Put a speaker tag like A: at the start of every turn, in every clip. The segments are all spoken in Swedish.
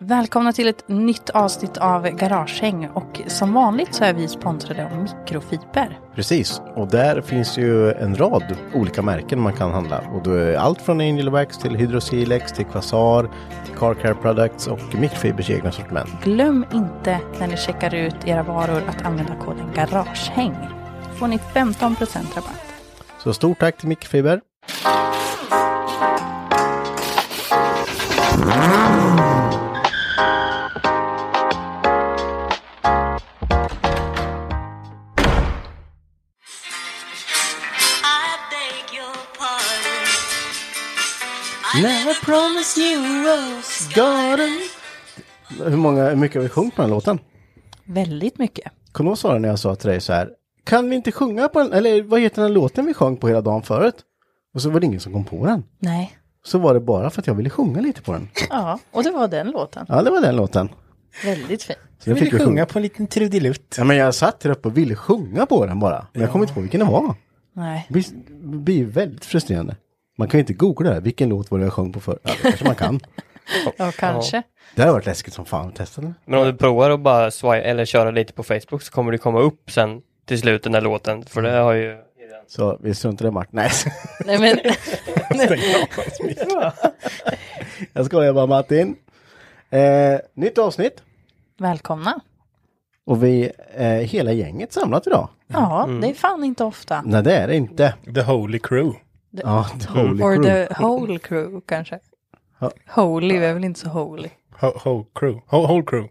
A: Välkomna till ett nytt avsnitt av Garagehäng och som vanligt så är vi sponsrade av mikrofiber.
B: Precis, och där finns ju en rad olika märken man kan handla. Och då är allt från Angel Wax till Hydrosilex till Quasar, till Car Care Products och Mikrofibers egna sortiment.
A: Glöm inte när ni checkar ut era varor att använda koden Garagehäng. Får ni 15% rabatt.
B: Så stort tack till Mikrofiber.
C: I beg your pardon.
B: Never promise you rose garden. Hur, många, hur mycket har vi sjungit på den här låten?
A: Väldigt mycket.
B: Kommer du ihåg Sara när jag sa till dig så här? Kan vi inte sjunga på den? Eller vad heter den här låten vi sjöng på hela dagen förut? Och så var det ingen som kom på den.
A: Nej.
B: Så var det bara för att jag ville sjunga lite på den.
A: Ja, och det var den låten.
B: Ja, det var den låten.
A: Väldigt fin.
B: Så jag
D: Vill
B: fick
D: du
B: ju sjunga.
D: sjunga på en liten trudelutt?
B: Ja, men jag satt där uppe och ville sjunga på den bara. Men jag kom inte på vilken det var.
A: Nej.
B: Det blir- det blir ju väldigt frustrerande. Man kan ju inte googla det. här. Vilken låt var det jag sjöng på förr? Ja, det kanske man kan.
A: Ja, kanske.
B: Det har varit läskigt som fan. Testa den.
E: Men om du provar att bara swipe, eller köra lite på Facebook så kommer det komma upp sen till slut den här låten. För det har ju...
B: Så vi struntar i Martin. Nej,
A: Nej, men
B: jag skojar bara Martin. Eh, nytt avsnitt.
A: välkomna.
B: Och vi eh, hela gänget samlat idag.
A: Ja, det är fan inte ofta.
B: Nej, det är det inte.
D: The Holy Crew.
B: Ja, the holy
A: Or
B: crew.
A: the whole crew kanske.
B: Ja.
A: Holy är väl inte så holy.
D: Ho, ho crew. Ho, whole crew.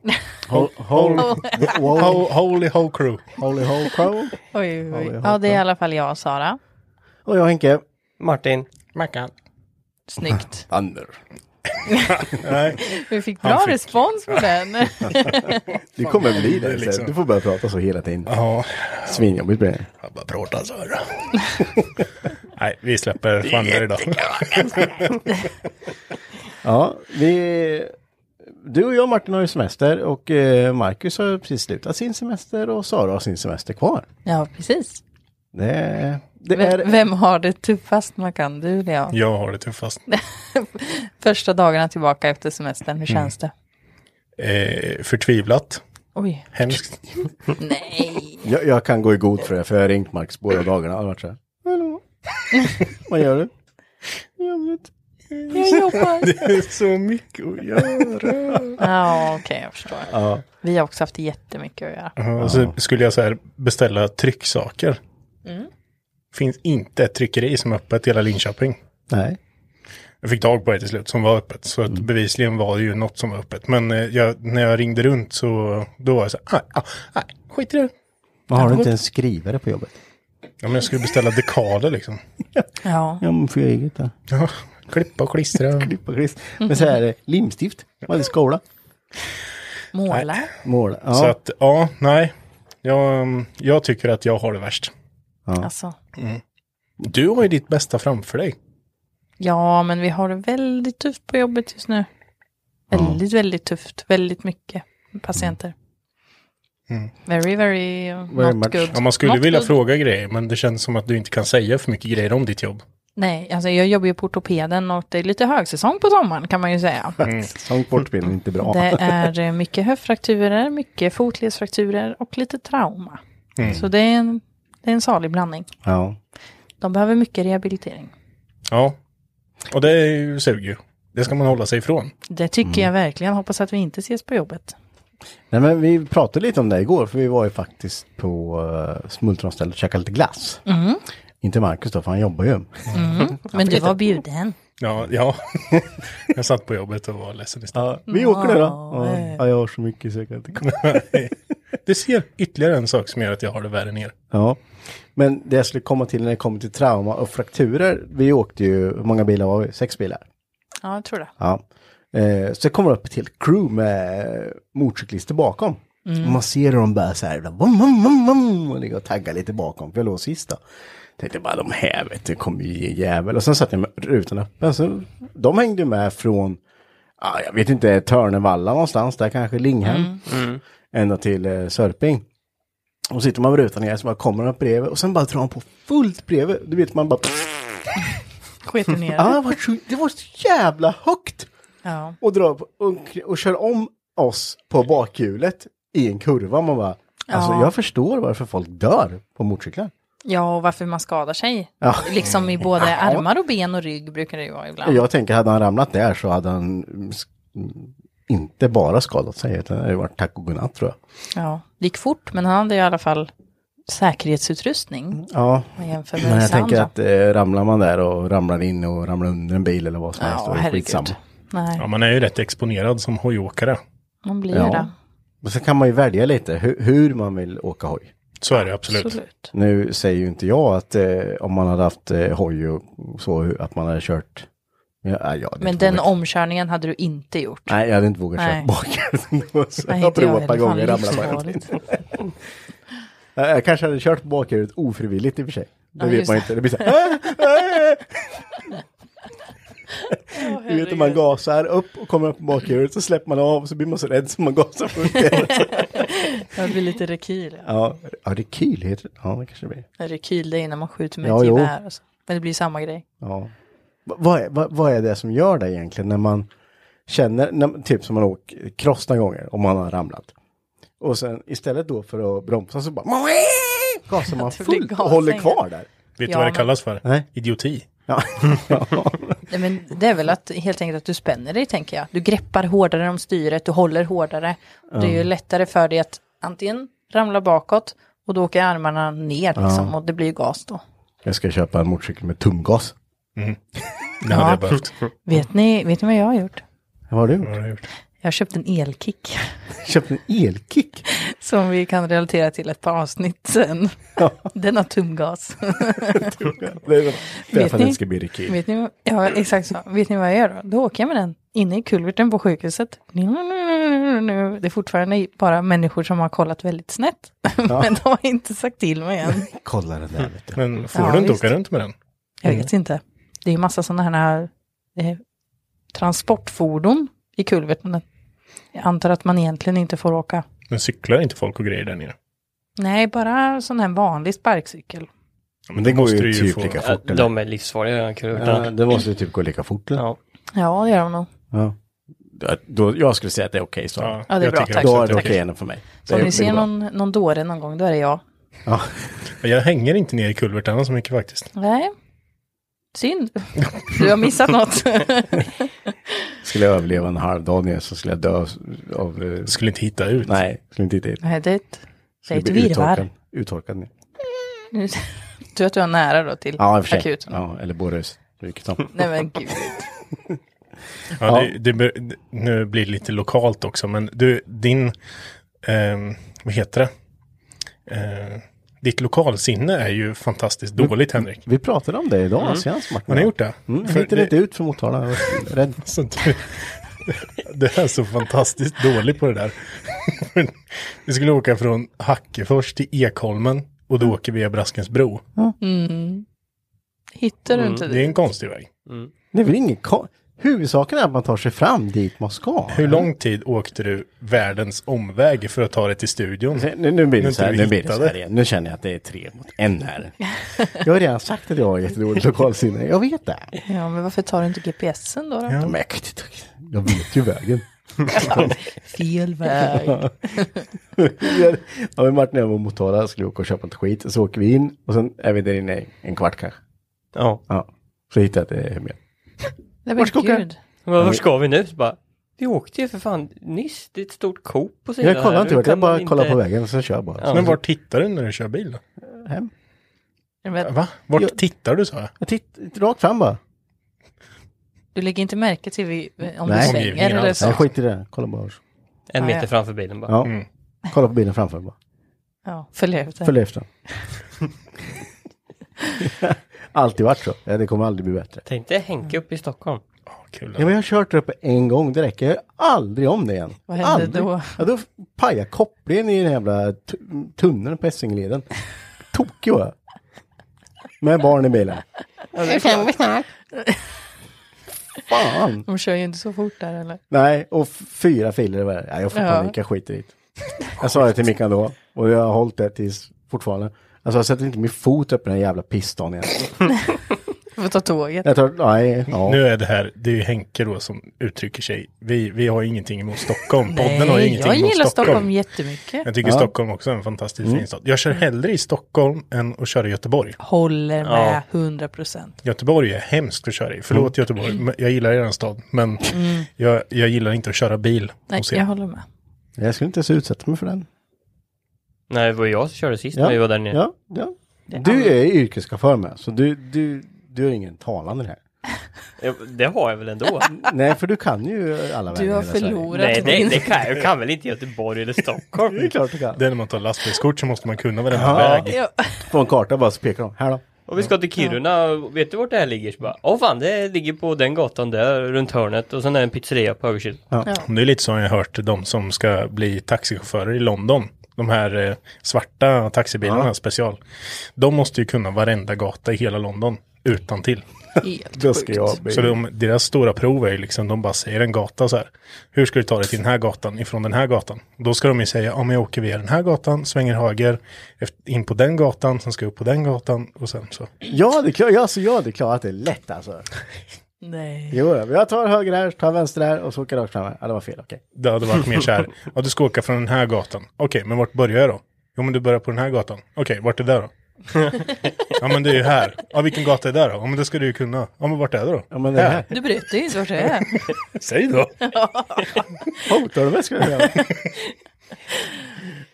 B: Ho, ho, ho,
D: Ho, holy ho crew.
B: holy ho crew.
A: Oj, oj,
B: jag
A: oj. Ja,
B: hatar.
A: det är i alla fall jag och Sara.
B: Och jag Henke.
E: Martin,
D: Mackan.
A: Snyggt.
B: Ander.
A: Vi fick bra
D: fick.
A: respons på den.
B: Det kommer bli det.
D: liksom.
B: sen. Du får börja prata så hela tiden.
D: Ja,
B: Svinjobbigt blir det.
D: jag bara pratar så här. Nej, vi släpper Thunder idag.
B: Ja, vi... Du och jag Martin har ju semester och eh, Marcus har precis slutat sin semester och Sara har sin semester kvar.
A: Ja, precis.
B: Det, det
A: Vem,
B: är...
A: vem har det tuffast man kan? Du eller jag?
D: Jag har det tuffast.
A: Första dagarna tillbaka efter semestern, hur känns det?
D: Eh, förtvivlat.
A: Oj.
D: Hemskt.
A: Nej.
B: Jag, jag kan gå i god för det för jag har ringt Marcus båda dagarna. Jag har varit så här. Hallå? Vad gör du? Jobbigt.
A: Jag jobbar.
D: Det är så mycket att göra.
A: Ja, okej, jag förstår.
B: Ja.
A: Vi har också haft jättemycket att göra.
D: Och så skulle jag så här beställa trycksaker.
B: Mm.
D: Finns inte ett tryckeri som är öppet i hela Linköping.
B: Nej.
D: Jag fick tag på det till slut som var öppet. Så att bevisligen var det ju något som var öppet. Men eh, jag, när jag ringde runt så då var jag så här, "Ah, ah, nej, skit i det.
B: Men har du inte en skrivare på jobbet?
D: Ja, men jag skulle beställa dekaler liksom.
A: Ja.
B: Ja, men får jag eget där.
D: Ja, klippa och klistra.
B: Klippa och klister. Men så här, eh, limstift. Man skola.
A: Måla.
B: Måla. Ja.
D: Så att, ja, nej. Jag, mm, jag tycker att jag har det värst.
A: Alltså.
D: Du har ju ditt bästa framför dig.
A: Ja, men vi har det väldigt tufft på jobbet just nu. Väldigt, väldigt tufft. Väldigt mycket patienter.
D: Mm.
A: Very, very, uh,
B: Very
A: not
B: much.
A: good.
D: Ja, man skulle
A: Not
D: vilja
A: good.
D: fråga grejer, men det känns som att du inte kan säga för mycket grejer om ditt jobb.
A: Nej, alltså jag jobbar ju på ortopeden och det är lite högsäsong på sommaren kan man ju säga.
B: Mm. Sån kortbild är inte bra.
A: Det är eh, mycket höftfrakturer, mycket fotledsfrakturer och lite trauma.
B: Mm.
A: Så det är, en, det är en salig blandning.
B: Ja.
A: De behöver mycket rehabilitering.
D: Ja, och det är ju- suger ju. Det ska man hålla sig ifrån.
A: Det tycker jag
B: Mm.
A: verkligen. Hoppas att vi inte ses på jobbet.
B: Nej, men vi pratade lite om det igår, för vi var ju faktiskt på uh, smultronstället och käkade lite glass. Inte Marcus då, för han jobbar ju.
A: Men du var bjuden.
D: Ja, ja. jag satt på jobbet och var ledsen istället.
B: Vi åker nu då. Ja, ja, jag har så mycket så jag kan inte komma.
D: Det ser ytterligare en sak som gör att jag har det värre än er.
B: Ja. Men det jag skulle komma till när det kommer till trauma och frakturer. Vi åkte ju, hur många bilar var vi? Sex bilar.
A: Ja, jag tror det.
B: Ja. Eh, så det kommer upp ett helt crew med motorcyklister bakom. Och man ser hur de bara så här, vum, vum, vum, vum, och ligger och taggar lite bakom, för jag låg sist då. Tänkte bara, de här vet du, kommer ju ge en jävel. Och sen satt jag med rutan öppen, så de hängde ju med från, ja, jag vet inte, Törnevalla någonstans, där kanske Linghem. Ända till eh, Sörping. Och sitter man med rutan ner så bara kommer de upp bredvid och sen bara drar de på fullt bredvid. Du vet man bara,
A: Sket ner.
B: ah, det, var så, det var så jävla högt
A: Ja.
B: och drar upp och, och kör om oss på bakhjulet i en kurva. Man bara, alltså
A: Ja.
B: jag förstår varför folk dör på motorcyklar.
A: ja, och varför man skadar sig.
B: Ja.
A: Liksom i både armar och ben och rygg brukar det ju vara ibland.
B: Jag tänker, hade han ramlat där så hade han mm, sk- mm, inte bara skadat sig, utan det hade varit tack och godnatt tror jag.
A: Ja, det gick fort, men han hade i alla fall säkerhetsutrustning.
B: Ja,
A: om man jämför med
B: men Mm. jag
A: vissa
B: tänker
A: andra.
B: att eh, ramlar man där och ramlar in och ramlar under en bil eller vad som helst, då
A: Ja,
B: är det
A: herregud.
B: skitsamma.
A: Nej,
D: Ja, man är ju rätt exponerad som hojåkare.
A: man blir
B: Ja,
A: ju det.
B: Och sen kan man ju välja lite hur, hur man vill åka hoj.
D: Så är det absolut.
A: Absolut.
B: Nu säger ju inte jag att eh, om man hade haft eh, hoj och så, hur- att man hade kört. Ja, ja, jag hade
A: Men
B: inte
A: den
B: vågat-
A: omkörningen hade du inte gjort.
B: Nej, jag hade inte vågat köra
A: Nej.
B: bakhjulet.
A: Nej,
B: jag har
A: inte heller.
B: provat ett par
A: Fan,
B: gånger,
A: det är
B: ramlat bakhjulet.
A: livsfarligt.
B: Jag jag kanske hade kört bakhjulet ofrivilligt i och för sig. Det
A: Ja,
B: vet
A: just
B: man
A: det.
B: inte. Det blir så här. Du "Äh, vet hur man gasar upp och kommer upp på bakhjulet så släpper man av och så blir man så rädd så man gasar fullt.
A: Jag blir lite rekyl. ja.
B: ja, ja, rekyl heter det. Ja, det kanske det blir.
A: Rekyl, det är när man skjuter med
B: Ja,
A: ett
B: jo.
A: gevär. och så. Men det blir samma grej.
B: Ja. Va- Vad är, vad, vad är det som gör det egentligen när man känner, när, typ som man åker cross några gånger om man har ramlat. Och sen istället då för att bromsa så bara gasar man
A: Det blir
B: fullt och
A: gasning.
B: håller kvar där.
D: Vet du
A: Ja,
D: vad det
A: men-
D: kallas för?
B: Nej.
D: Idioti.
B: Ja.
A: Nej, men det är väl att, helt enkelt att du spänner dig, tänker jag. Du greppar hårdare om styret, du håller hårdare. Det är ju lättare för dig att antingen ramla bakåt och då åker armarna ner liksom, och det blir ju gas då.
B: Jag ska köpa en motorcykel med tumgas.
D: Det hade jag behövt.
A: Vet ni, vet ni vad jag har gjort?
B: Vad har du gjort?
D: Vad har jag gjort?
A: Jag har köpt en elkick
B: Köpt en elkick?
A: som vi kan relatera till ett par avsnitt sen. Den har tumgas.
B: Det är för att det
A: ni?
B: inte ska bli rekyl.
A: Vet ni, vad- ja, exakt så. Vet ni vad jag gör då? Då åker jag med den inne i kulverten på sjukhuset. Det är fortfarande bara människor som har kollat väldigt snett. Men de har inte sagt till mig än.
B: Kolla den där vet du.
D: Men får
A: Ja,
D: du inte
A: visst.
D: åka runt med den?
A: Jag vet inte. Det är ju massa sådana här eh, transportfordon i kulverten. Jag antar att man egentligen inte får åka.
D: Men cyklar inte folk och grejer där nere?
A: Nej, bara sån här vanlig sparkcykel.
D: Ja,
B: Men det
D: då
B: går
D: måste
B: ju
D: du
B: typ
D: få-
B: lika
E: Ja,
B: fort. Eller?
E: de är livsfarliga redan
B: Ja,
E: kulvertarna.
B: det måste ju typ gå lika fort. Eller?
E: Ja.
A: Ja, det gör de nog.
B: Ja. Då, jag skulle säga att det är okej. så.
D: Ja,
A: Ja, det är
D: jag
A: bra,
D: tycker
A: tack.
D: också
B: Då är
D: att
B: det
D: är
B: okej ändå för mig.
A: Så om ni
B: Det- det går
A: ser
B: bra.
A: någon, någon dåre någon gång, då är det jag.
B: Ja.
D: Men Jag hänger inte ner i kulvertarna så mycket faktiskt.
A: Nej. Synd. Du har missat något.
B: Skulle jag överleva en halv dag ner så skulle jag dö av... eh,
D: Jag skulle inte hitta ut.
B: Nej, skulle inte hitta hit.
A: Nej, det är ett, det är
B: Skulle
A: ett
B: bli
A: virrvarr.
B: uttorkad- Uttorkad ner.
A: Nu- Tur att du har nära då till
B: Ja, i och för sig.
A: akuten.
B: Ja, eller bårhus. Vilket som.
A: Nej men gud.
D: Ja, det, det, be- det, nu blir det lite lokalt också, men du, din, ehm, vad heter det? Eh, ditt lokalsinne är ju fantastiskt dåligt, Henrik.
B: Vi pratade om det idag senast Martin.
D: Har ni gjort det?
B: Mm, jag
D: För
B: hittade
D: det-
B: inte ut från Motala. Jag var rädd.
D: Så du, du är så fantastiskt dålig på det där. Vi skulle åka från Mm. Hackefors till Ekholmen och då åker vi via Braskens bro.
A: Hittar du inte
D: Det är en konstig väg.
B: Det är väl ingen ko- Huvudsaken är att man tar sig fram dit man ska.
D: Hur lång tid åkte du världens omväg för att ta dig till studion?
B: Nu, nu blir
D: Nu
B: det
D: inte
B: så här,
D: vi
B: nu blir det så
D: hittade.
B: här igen. Nu känner jag att det är tre mot en här. Jag har redan sagt att jag har jättedåligt lokalsinne. Jag vet det.
A: Ja, men varför tar du inte GPSen då? då?
D: Ja.
B: Men jag kan inte- jag vet ju vägen.
A: Fel väg.
B: ja, men Martin och jag var i Motala, skulle åka och köpa ett skit. Så åker vi in och sen är vi där inne en kvart kanske.
E: Ja.
B: Ja. Så hittade jag till hemmet.
A: Nej, men
B: Vart ska jag åka?
A: gud.
E: Men var ska vi nu? Så bara, vi åkte ju för fan nyss. Det är ett stort Coop på sidan
B: Jag kollar
E: här.
B: inte
E: Hur
B: vart, jag
E: kan man
B: bara kollar på
E: inte-
B: vägen och sen kör jag bara.
E: Ja.
D: Men vart tittar du när du kör bil? Då?
B: Hem.
A: Jag vet,
D: Va? Vart
B: Jag-
D: tittar du sa jag?
B: Jag tittar rakt fram bara.
A: Du lägger inte märke till vi- om
B: Nej.
A: du svänger
D: Omgivningen
A: eller
D: alls.
A: så.
B: Nej, skit i det. Kolla bara.
E: En
A: Ja,
E: meter
A: ja.
E: framför bilen bara.
B: Ja. Kolla på bilen framför bara.
A: Ja, följ efter.
B: Följ efter den. Alltid varit så. Ja, det kommer aldrig bli bättre.
E: Tänk dig Henke uppe i Stockholm.
D: Ja, kul.
B: Ja, men jag har kört där uppe en gång, det räcker. Jag gör aldrig om det igen.
A: Vad hände
B: aldrig.
A: då?
B: Ja, då pajade kopplingen i den jävla t- tunneln på Essingeleden. Tokig var jag. Med barn i bilen. Fan!
A: De kör ju inte så fort där eller?
B: Nej, och f- fyra filer var det. Ja, jag får
A: Ja.
B: panik, jag skiter i det. Jag sa det till Mickan då, och jag har hållit det tills fortfarande. Alltså jag sätter inte min fot upp i den jävla pissdagen igen.
A: Du får ta tåget.
B: Jag tar, nej, ja.
D: Nu är det här, det är ju Henke då som uttrycker sig. Vi, vi har ingenting emot Stockholm. Podden har ju ingenting
A: jag
D: emot
A: gillar Stockholm
D: Stockholm. Mm.
A: jättemycket.
D: Jag tycker Stockholm också är en fantastisk fin stad. Jag kör hellre i Stockholm än att köra i Göteborg.
A: Håller med 100 procent.
D: Göteborg är hemskt att köra i. Förlåt Göteborg, men jag gillar er stad. Men jag, jag gillar inte att köra bil
A: Nej,
D: hos
A: jag
D: er.
A: håller med.
B: Jag skulle inte ens utsätta mig för den.
E: Nej, det var jag som körde sist när vi var där nere.
B: Ja, ja. Du är yrkeschaufför med, så du, du, du är ingen talande här.
E: Ja, Det har jag väl ändå?
B: Nej, för du kan ju alla vägar
A: Du
B: i
A: har
B: hela Sverige.
E: Nej,
A: förlorat
E: det,
A: din.
E: det kan jag kan väl inte Göteborg eller Stockholm?
B: Det är klart du kan.
D: Det är när man tar lastbilskort så måste man kunna varenda väg.
A: Ja.
B: På en karta bara så pekar de. Här då.
E: Och vi ska till Kiruna, och vet du vart det här ligger? Så bara, åh fan, det ligger på den gatan där, runt hörnet. Och sen är det en pizzeria på högersidan.
D: Det är lite som jag har hört de som ska bli taxichaufförer i London. De här eh, svarta taxibilarna special. De måste ju kunna varenda gata i hela London utan till.
A: Helt
B: Då ska jag
D: Så de, deras stora prov är ju liksom, de bara säger en gata så här. Hur ska du ta dig till den här gatan ifrån den här gatan? Då ska de ju säga, om jag åker via den här gatan, svänger höger, eft- in på den gatan, sen ska jag upp på den gatan och sen så.
B: Ja, det är klart. Ja, så ja, det är klart att det är lätt alltså.
A: Nej.
B: Jo, men jag tar höger här, tar vänster här och så åker jag rakt fram här. Ja, det var fel. Okej.
D: Det hade varit mer så här, ja du ska åka från den här gatan. Okej, men vart börjar jag då? Jo men du börjar på den här gatan. Okej, vart är det då? ja men det är ju här. Ja vilken gata är det då? Ja men det ska du ju kunna. Ja men vart är det då?
B: Ja, men det här.
A: Du berättar ju inte vart det är.
D: Säg då.
B: Hotar du mig ska jag göra.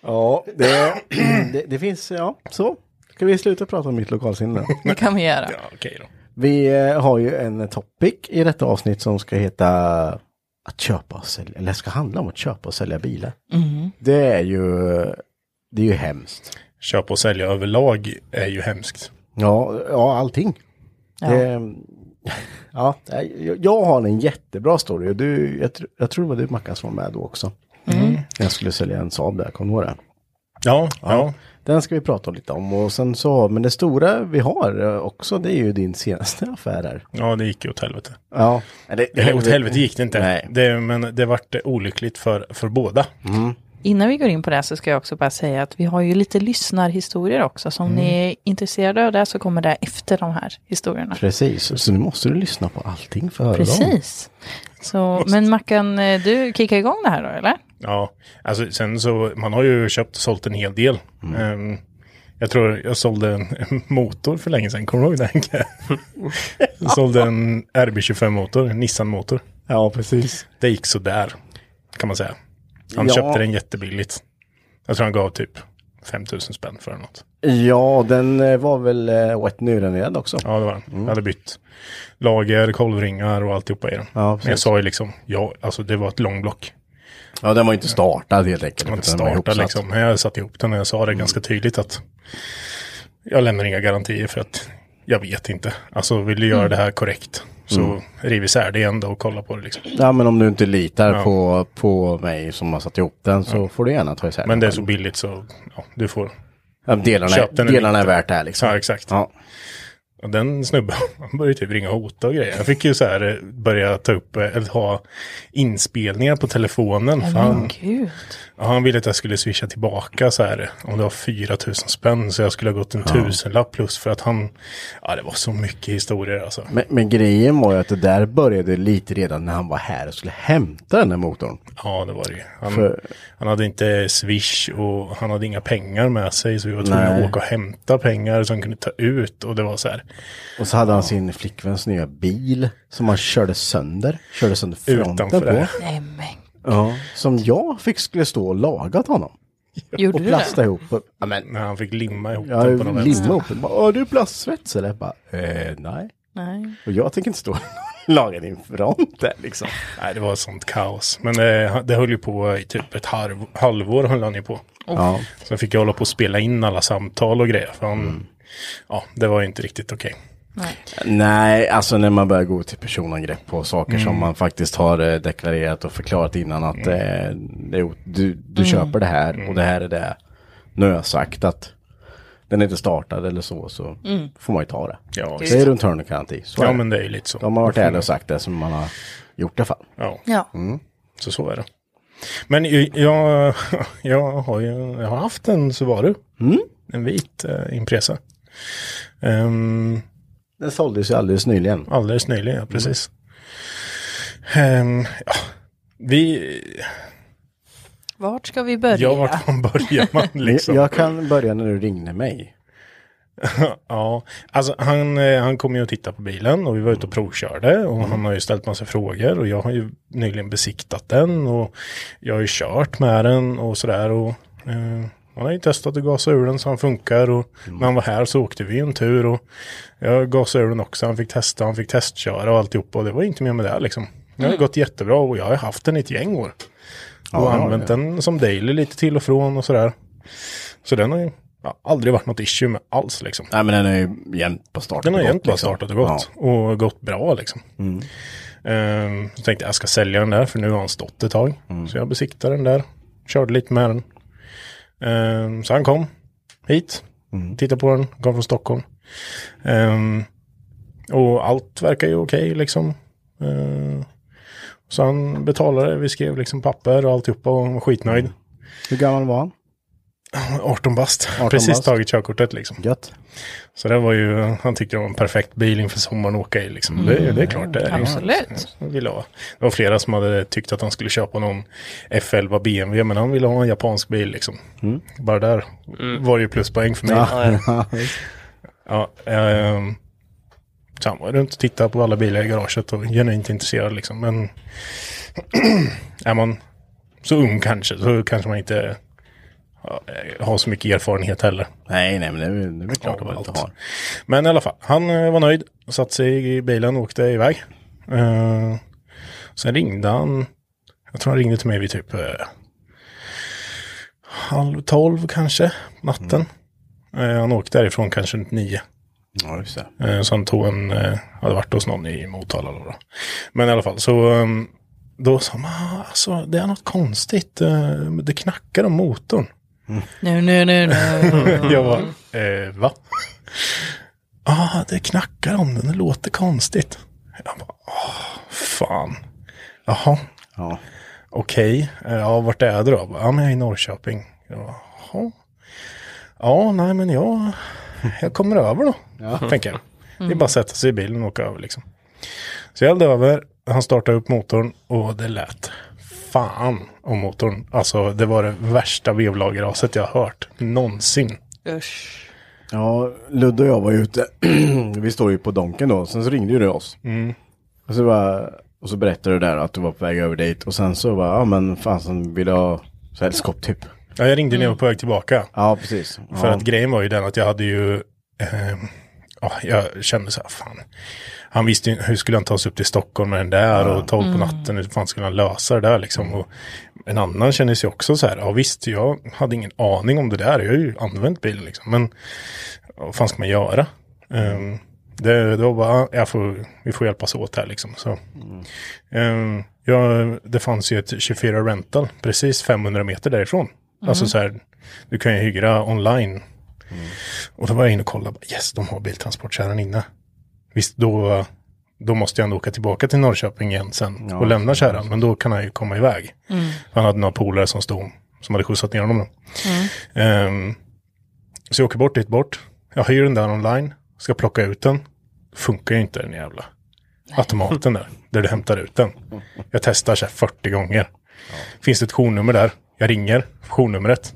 B: Ja, det, det, det finns, ja, så. Ska vi sluta prata om mitt lokalsinne då?
A: Det kan vi göra.
D: Ja okej då.
B: Vi eh, har ju en topic i detta avsnitt som ska heta att köpa och sälja, eller ska handla om att köpa och sälja bilar. Det är ju, det är ju hemskt.
D: Köpa och sälja överlag är ju hemskt.
B: Ja, ja allting. Ja. Det, ja, jag, jag har en jättebra story och du, jag, tr- jag tror det var du Mackan som var med då också.
D: Mm.
B: Jag skulle sälja en Saab där, kommer du ihåg det?
D: Ja, ja.
B: Den ska vi prata lite om och sen så, men det stora vi har eh, också det är ju din senaste affär här.
D: Ja det gick ju åt helvete.
B: Ja. Eller,
D: Eller åt helvete gick det inte.
B: Nej.
D: Det, men det vart olyckligt för, för båda.
A: Innan vi går in på det här så ska jag också bara säga att vi har ju lite lyssnarhistorier också. Så om
B: Mm.
A: ni är intresserade av det så kommer det efter de här historierna.
B: Precis, så nu måste du lyssna på allting för att höra dem.
A: Precis. Så, men Mackan, eh, du kickar igång det här då eller?
D: Ja, alltså sen så, man har ju köpt och sålt en hel del.
B: Mm.
D: Ehm, jag tror jag sålde en en motor för länge sedan, kommer du ihåg den? Henke? jag sålde en RB25-motor, en Nissan-motor.
B: Ja, precis.
D: Det gick sådär, kan man säga. Han
B: Ja.
D: köpte den jättebilligt. Jag tror han gav typ 5 000 spänn för den något.
B: Ja, den eh, var väl eh, rätt nyrenoverad också.
D: Ja, det var den. Jag hade bytt lager, kolvringar och alltihopa i den.
B: Ja, precis.
D: Men jag sa ju liksom, ja, alltså det var ett långblock.
B: Ja, den var inte startad helt enkelt.
D: man inte
B: utan den var
D: startar
B: ihopsatt. Mm.
D: liksom. Men jag satte ihop den och jag sa det ganska tydligt att jag lämnar inga garantier för att jag vet inte. Alltså vill du göra
B: Mm.
D: det här korrekt så riv isär det ändå och kolla på det liksom.
B: Ja, men om du inte litar
D: Ja.
B: på, på mig som har satt ihop den så får du gärna ta isär
D: Men det är
B: den.
D: så billigt så ja, du får.
B: Ja, delarna,
D: Köp den
B: delarna är
D: lite.
B: värt det här liksom.
D: Ja, exakt.
B: Ja.
D: Och den snubben, han började typ ringa och hota och grejer. Han fick ju så här eh, börja ta upp, eh, eller ha inspelningar på telefonen. för
A: Men
D: han,
A: gud.
D: ja, han ville att jag skulle swisha tillbaka så här, om det var 4 000 spänn. Så jag skulle ha gått en tusenlapp plus för att han, ja det var så mycket historier alltså.
B: Men, men grejen var ju att det där började lite redan när han var här och skulle hämta den här motorn.
D: Ja, det var det ju. han,
B: För-
D: han hade inte swish och han hade inga pengar med sig. Så vi var tvungna
B: Nej.
D: att åka och hämta pengar som han kunde ta ut. Och det var så här,
B: Och så hade han sin flickväns nya bil som han körde sönder. Körde sönder fronten
D: Utanför
B: på.
D: det.
A: Nej men.
B: Ja. Som jag fick skulle stå och laga till honom.
A: Gjorde
B: och
A: du det?
B: plasta ihop. Ja, men,
D: när han fick limma ihop
B: jag
D: den på något
B: limmade
D: vänster.
B: ihop den. Bara, "Åh, du är plastsvets eller? Jag Bara, eh, nej.
A: Nej.
B: Och jag tänker inte stå och laga din front där liksom.
D: Nej, det var sånt kaos. Men eh, han- det höll ju på i typ ett halv, halvår höll han ju på.
B: Ja.
D: Sen fick jag hålla på och spela in alla samtal och grejer. För han,
B: Mm.
D: Ja, det var ju inte riktigt okej.
B: Nej, alltså när man börjar gå till personangrepp på saker som
A: Mm.
B: man faktiskt har eh, deklarerat och förklarat innan att eh, det är o- du,
A: Mm.
B: du köper det här och det här är det. Nu har jag sagt att den är inte startad eller så, så
A: Mm.
B: får man ju ta det.
D: Ja,
B: det är runt hörnet garanti. Så
D: Ja,
B: är
D: men Mm.
B: det.
D: det är ju lite så.
B: De har varit ärliga och sagt det som man har gjort i alla fall.
D: Ja,
A: Ja.
B: Mm.
D: så så är det. Men ju- jag, jag har ju jag har haft en Subaru.
B: Mm.
D: En vit eh, Impresa. Ehm,
B: Den såldes ju alldeles nyligen.
D: Alldeles nyligen, ja, precis. Ehm, ja, vi...
A: Vart ska vi börja?
D: Ja, vart fan börjar man liksom?
B: Jag kan börja när du ringde mig.
D: Ja, alltså han, eh, han kom ju och tittade på bilen och vi var ute och provkörde och han har ju ställt massa frågor och jag har ju nyligen besiktat den och jag har ju kört med den och sådär och eh, han har ju testat att gasa ur den så han funkar och när han var här så åkte vi en tur och jag gasade ur den också, han fick testa, han fick testköra och alltihopa och det var inte mer med det liksom. Det har ju gått jättebra och jag har haft den i ett gäng år. Och
B: Ja,
D: använt den som daily lite till och från och sådär. Så den har ju ja, aldrig varit något issue med alls liksom.
B: Nej, men den är ju jämnt på start.
D: Den har
B: och
D: egentligen bara
B: liksom.
D: startat och gått. Och gått bra liksom. Ehm, så tänkte jag, jag ska sälja den där för nu har han stått ett tag. Så jag besiktade den där. Körde lite med den. Ehm, så han kom hit. Tittade på den. Kom från Stockholm. Ehm, och allt verkar ju okej liksom. Ehm, så han betalade. Vi skrev liksom papper och alltihopa och han var skitnöjd.
B: Ja. Hur gammal var han?
D: 18 bast.
B: 18
D: Precis
B: bast.
D: tagit körkortet liksom.
B: Gött.
D: Så det var ju, han tyckte det var en perfekt bil inför sommaren att åka i liksom. Det, det är klart det är. det.
A: Absolut.
D: Han ville ha. Det var flera som hade tyckt att han skulle köpa någon F11 BMW, men han ville ha en japansk bil liksom. Bara där var det ju pluspoäng för mig.
B: Ja,
D: Ja, ehm, så han var runt och tittade på alla bilar i garaget och genuint intresserad liksom. Men är man så ung kanske så kanske man inte ja, har så mycket erfarenhet heller.
B: nej, nej, men det är väl- det är väl klart
D: Ja,
B: att man inte
D: allt.
B: har.
D: Men i alla fall, han eh, var nöjd, satt sig i bilen och åkte iväg. Eh, sen ringde han, jag tror han ringde till mig vid typ eh, halv tolv kanske, natten. Eh, han åkte därifrån kanske runt nio.
B: Ja, just det.
D: Eh, så han tog en, eh, hade varit hos någon i Motala. Då. Men i alla fall, så eh, då sa man, "Ah, alltså det är något konstigt, eh, det knackar om motorn.
A: Nu, nu, nu, nu.
D: Jag bara, eh, va? ah, det knackar om den, det låter konstigt. Jag bara, ah, fan. Jaha,
B: Ja.
D: okej. Eh, Ja, vart är du då? Jag bara, Ja, men jag är i Norrköping. Jag bara, Jaha. Ja, nej, men jag, jag kommer över då, tänker jag. Det är bara att sätta sig i bilen och åka över liksom. Så jag eldade över, han startade upp motorn och det lät fan om motorn. Alltså, det var det värsta vevlagraset jag har hört någonsin.
A: Usch.
B: Ja, Ludde och jag var ju ute. vi står ju på Donken då. Sen så ringde ju du oss. Och, så bara, och så berättade du där att du var på väg över dit. Och sen så bara, ja men fan som vill ha sällskap typ.
D: Ja, jag ringde när jag var på väg tillbaka.
B: Ja, precis.
D: För
B: ja.
D: att grejen var ju den att jag hade ju, ehm, ja, jag kände så här, fan. Han visste ju, hur skulle han ta sig upp till Stockholm med den där och tolv på natten, hur fan skulle han lösa det där liksom. Och en annan kände sig också så här, ja visst, jag hade ingen aning om det där, jag har ju använt bilen liksom. Men ja, vad fan ska man göra? Ehm, det, det var bara, jag får, vi får hjälpas åt här liksom. Så. Ehm, ja, det fanns ju ett 24 rental, precis 500 meter därifrån. Alltså så här, du kan ju hyra online Och då var jag inne och kollade, bara, yes de har biltransportkärran inne. Visst då, då måste jag ändå åka tillbaka till Norrköping igen sen och lämna kärran, men då kan han ju komma iväg. Han hade några polare som stod, som hade skjutsat ner honom då. Ehm, så jag åker bort dit bort, jag hyr den där online, ska plocka ut den, funkar ju inte den jävla automaten där, där du hämtar ut den. Jag testar så här 40 gånger. Finns det ett journummer där, jag ringer journumret.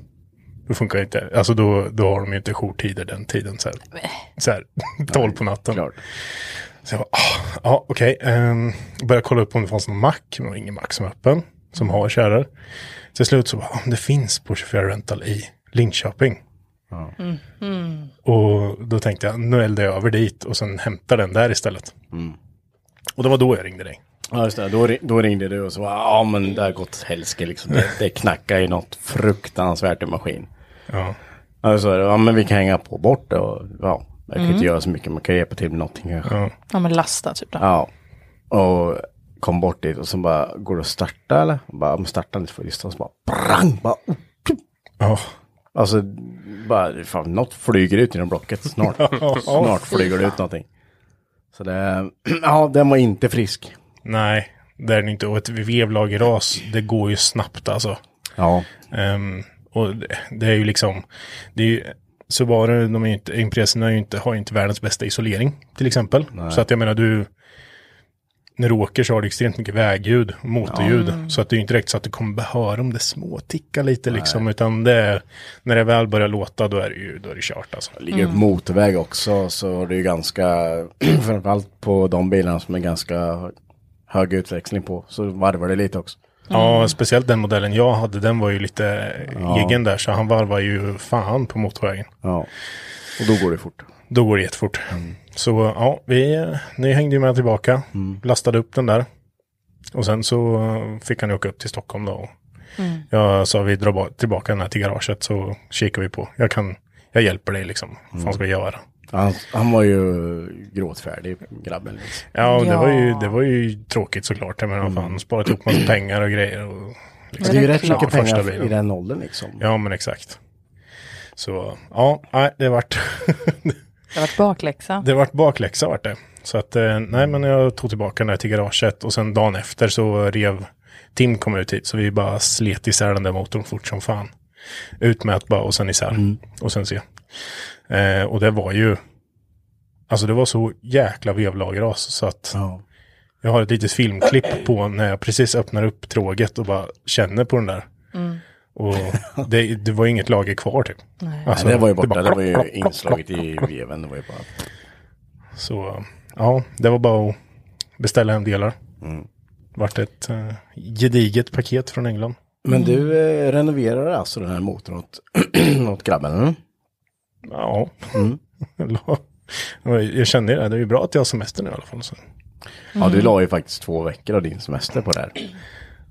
D: Då funkar det inte. Alltså då, då har de ju inte jourtider den tiden. Så här, så här 12 på natten.
B: klart.
D: Så jag bara, ah, ja okej. Ehm, började kolla upp om det fanns någon mack, men det var ingen mack som är öppen, som har kärror. Till slut så bara, om det finns på 24 Rental i Linköping. Och då tänkte jag, nu eldar jag över dit och sen hämtar den där istället. Och det var då jag ringde dig.
B: Ja just det, då, ri- då ringde du och så bara, ja men det har gått åt helske liksom. Det, det knackar ju något fruktansvärt i maskin.
D: Ja.
B: Ja, så är det. Alltså, ja men vi kan hänga på bort det och ja, jag kan inte göra så mycket, man kan hjälpa till med någonting kanske. Mm. Ja.
A: Ja men lasta typ då.
B: Och kom bort dit och så bara, går det att starta eller? Och bara, "Ja, men starta inte för just det. Och så bara, prang, bara, oh.
D: Ja.
B: Alltså, bara, fan, något flyger ut genom blocket snart. snart flyger det ut någonting. Så det, ja den var inte frisk.
D: Nej, det är den inte. Och ett vevlagerras, det går ju snabbt alltså.
B: Ja.
D: Ehm, och det, det är ju liksom, det är ju, så var det, de är ju inte, Impresorna är ju inte, har ju inte världens bästa isolering till exempel. Så att jag menar du, när du åker så har du extremt mycket vägljud, motorljud. Så att det är ju inte direkt så att du kommer höra om det småtickar lite liksom. Utan det är, när det väl börjar låta då är det ju, då är det kört alltså.
B: ligger mm. motorväg också så är det ju ganska, framförallt på de bilarna som är ganska hög utväxling på, så varvar det lite också.
D: Ja, speciellt den modellen jag hade, den var ju lite egen där. Så han varvar ju fan på motorvägen.
B: Ja. Och då går det fort.
D: Då går det jättefort. Så ja, vi, ni hängde ju med tillbaka,
B: Mm.
D: lastade upp den där. Och sen så eh, fick han ju åka upp till Stockholm då. Och Jag sa vi drar ba- tillbaka den här till garaget så kikar vi på. Jag kan, jag hjälper dig liksom. Vad fan ska jag göra?
B: Han, han var ju gråtfärdig, grabben. Liksom.
D: Ja, och Det,
A: Ja.
D: var ju, det var ju tråkigt såklart. Jag menar, fan, sparat ihop massa pengar och grejer. Och,
B: Mm. Alltså, Det är ju rätt
D: klart.
B: mycket
D: Första
B: pengar
D: bilen.
B: i den åldern liksom.
D: ja, men exakt. Så ja, nej, det vart
A: Det har varit bakläxa.
D: Det vart bakläxa vart det. Så att eh, nej men jag tog tillbaka den där till garaget och sen dagen efter så rev Tim kom ut hit så vi bara slet isär den där motorn fort som fan. Ut med att bara och sen isär
B: Mm.
D: och sen se. Eh, och det var ju Alltså det var så jäkla vevlagras så att
B: Ja.
D: jag har ett litet filmklipp på när jag precis öppnar upp tråget och bara känner på den där. Och det, det var inget lager kvar typ. Alltså,
B: Nej, det var ju borta,
D: bara
B: det var ju
D: plopp, plopp,
B: inslaget i veven. Det var ju bara...
D: Så ja, det var bara att beställa hem delar. Vart ett eh, gediget paket från England.
B: Men du eh, renoverade alltså den här motorn åt, åt grabben? mm?
D: Mm.
B: eller?
D: Ja. jag känner ju det, det är ju bra att jag har semester nu i alla fall. Så.
B: Ja, du la ju faktiskt två veckor av din semester på det här.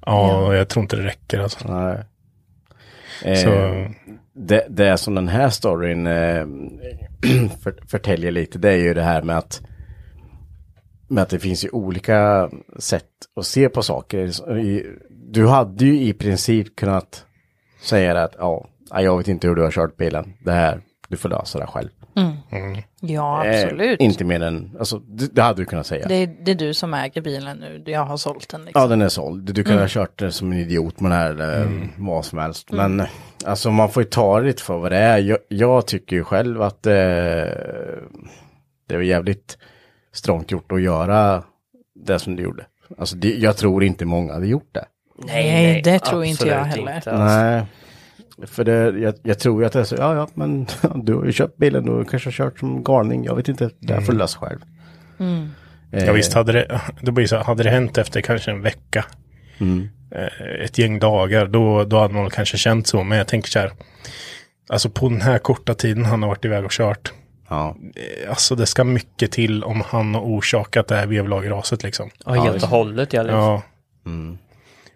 D: Ja, jag tror inte det räcker alltså.
B: Nej. Eh,
D: Så,
B: det, det som den här storyn eh, för, förtäljer lite, det är ju det här med att, med att det finns ju olika sätt att se på saker. Så i- Du hade ju i princip kunnat säga det att ja, nej, jag vet inte hur du har kört bilen, det här, du får lösa det själv.
A: Ja
B: Eh,
A: absolut.
B: inte mer än, alltså det, det hade du kunnat säga.
A: Det är, det är du som äger bilen nu. Jag har sålt den liksom.
B: Ja, den är såld. Du kan ha kört det som en idiot med den här eller vad som helst. Men alltså man får ju ta det lite för vad det är. Jag, jag tycker ju själv att eh, det var jävligt strångt gjort att göra det som du gjorde. Alltså det, jag tror inte många hade gjort det.
A: Nej, det tror inte jag
E: absolut
A: heller.
E: inte, alltså.
B: Nej. För det, jag, jag tror ju att det är så, ja ja, men du har ju köpt bilen och kanske har kört som galning. Jag vet inte, det här får du lösa själv. Eh,
D: ja, visst, hade det, det blir så, här, hade det hänt efter kanske en vecka, eh, ett gäng dagar, då, då hade man kanske känt så. Men jag tänker så här, alltså på den här korta tiden han har varit iväg och kört,
B: Ja.
D: alltså det ska mycket till om han har orsakat det här vevlagraset liksom.
E: Ja, helt och hållet ja. liksom.
D: Ja.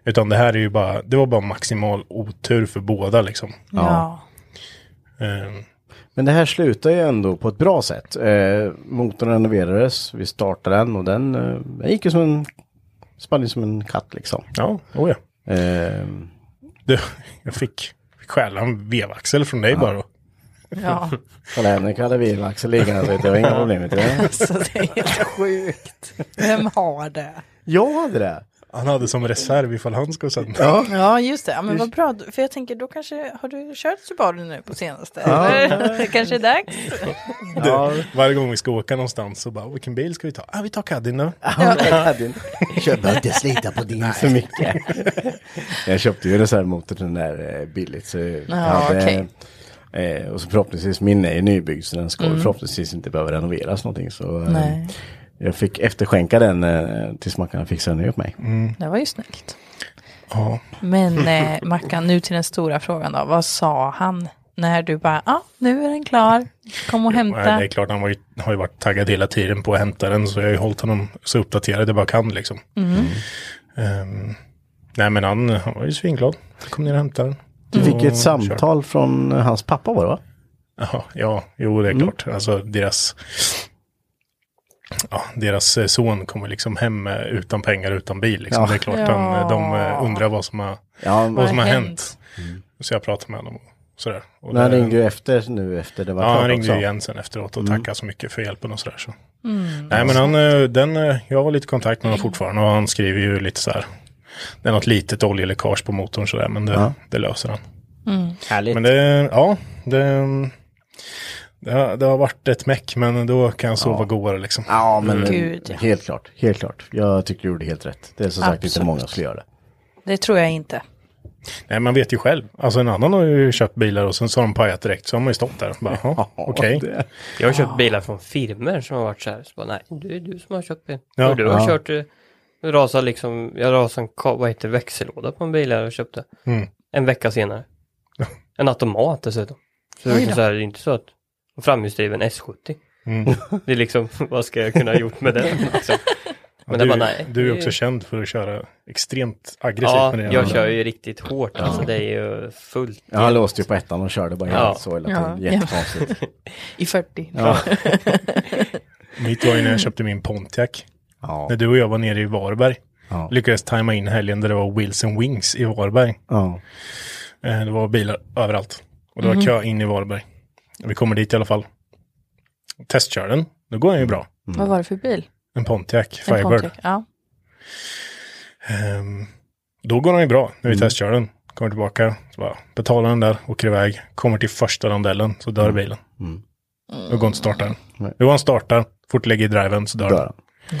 D: Utan det här är ju bara, det var bara maximal otur för båda liksom.
A: Ja.
D: Ehm,
B: Men det här slutar ju ändå på ett bra sätt. Eh, motorn renoverades, vi startade den och den, eh, den gick ju som en, spann ju som en katt liksom.
D: ja, oh ja.
B: Eh,
D: Det, jag fick, fick stjäla en vevaxel från dig bara.
A: Ja,
B: Kolla Henrik hade virvaxel liggande så det var inga problem med det.
A: så det är helt sjukt. Vem har det?
B: Jag hade det.
D: Han hade som reserv ifall han skulle sända.
B: Ja.
A: Ja, just det. Ja, men vad bra. För jag tänker, då kanske, har du kört Subaru nu på senaste?
B: Ja.
A: Det kanske är dags.
B: Ja.
D: Varje gång vi ska åka någonstans så bara, vilken bil ska vi ta? Ah, vi tar Caddy nu.
B: Jag behöver inte slita på din för mycket. jag köpte ju reservmotor till den där eh, billigt. Så jag hade,
A: okej.
B: eh, och så förhoppningsvis, min är ju nybyggd så den ska förhoppningsvis inte behöva renoveras någonting. Så, eh,
A: Nej.
B: Jag fick efterskänka den eh, tills Mackan fixade den åt mig.
A: Det var ju snyggt.
D: Ja.
A: Men eh, Mackan, nu till den stora frågan då. Vad sa han när du bara, ja, ah, nu är den klar. Kom och
D: Nej, det är
A: hämta.
D: klart, han var ju, har ju varit taggad hela tiden på att hämta den. Så jag har ju hållit honom så uppdaterad jag bara kan liksom. Ehm, nej men han, han var ju svinglad. Jag kom ner och hämtade den.
B: Du fick ju ett
D: Och
B: samtal från eh, hans pappa var det va?
D: Jaha, ja, jo det är
B: Mm.
D: klart. Alltså deras, ja, deras eh, son kommer liksom hem eh, utan pengar, utan bil. Liksom.
B: Ja.
D: Det är klart,
A: Ja.
D: de, de eh, undrar vad som har,
B: Ja,
D: vad som har
A: hänt?
D: hänt. Så jag pratade med honom och sådär. Och
B: men han
D: det-
B: ringde ju efter nu efter det var
D: Ja,
B: klart
D: han ringde
B: också. Mm.
D: ju igen sen efteråt och tackade så mycket för hjälpen och sådär. Så. Nej, men han, eh, den, eh, jag har lite kontakt med honom fortfarande och han skriver ju lite så här. Det är något litet oljeläckage på motorn sådär, men det, det löser han.
B: Härligt.
D: Men det, ja, det, det, har- det har varit ett meck, men då kan jag sova godare liksom.
B: Ja, men eh,
A: Gud, ja.
B: helt klart. Helt klart. Jag tycker du gjorde helt rätt. Det är som sagt inte
A: Absolut.
B: många som skulle göra det.
A: Det tror jag inte.
D: Nej, man vet ju själv. Alltså en annan har ju köpt bilar och sen så har de pajat direkt, så har man ju stått där och bara, "Jaha, okej.
B: det-
E: Jag har köpt bilar från firmer som har varit så här. Så bara, nej, det är du som har köpt bil.
D: Ja.
E: och du har
B: Ja.
E: kört, eh, rasar liksom, jag rasade en, ka- vad heter det, växellåda på en bil jag köpte.
D: Mm.
E: En vecka senare. En automat dessutom. Så det är, liksom så här, det är inte så att, och framhjulsdriven S70.
D: Mm.
E: Det är liksom, vad ska jag kunna ha gjort med den? Liksom. Men det
D: du,
E: bara, nej.
D: du är
E: det
D: också känd för att köra extremt aggressivt
E: Ja,
D: med det.
E: jag kör ju riktigt hårt alltså. Det är ju fullt.
B: Ja, han låste ju på ettan och körde bara
E: Ja.
B: helt så hela tiden.
A: Ja.
B: Jättekonstigt.
A: I 40.
B: Ja.
D: Mitt var ju när jag köpte min Pontiac.
B: Ja.
D: När du och jag var nere i Varberg.
B: Ja.
D: Lyckades tajma in helgen där det var Wilson Wings i Varberg.
B: Ja.
D: Eh, Det var bilar överallt. Och det
A: Mhm.
D: var kö in i Varberg. Vi kommer dit i alla fall. Testkör den. Då går den ju bra.
A: Vad var det för bil?
D: En Pontiac
A: En
D: Firebird.
A: Pontiac. Ja.
D: Ehm, då går den ju bra när vi
B: Mm.
D: testkör den. Kommer tillbaka, så bara betalar den där, åker iväg. Kommer till första rondellen, så dör bilen.
B: Mm.
D: Då går inte startaren.
B: Nej.
D: Då han startar, fort lägger i driven så dör
B: Dör
D: den.
B: han.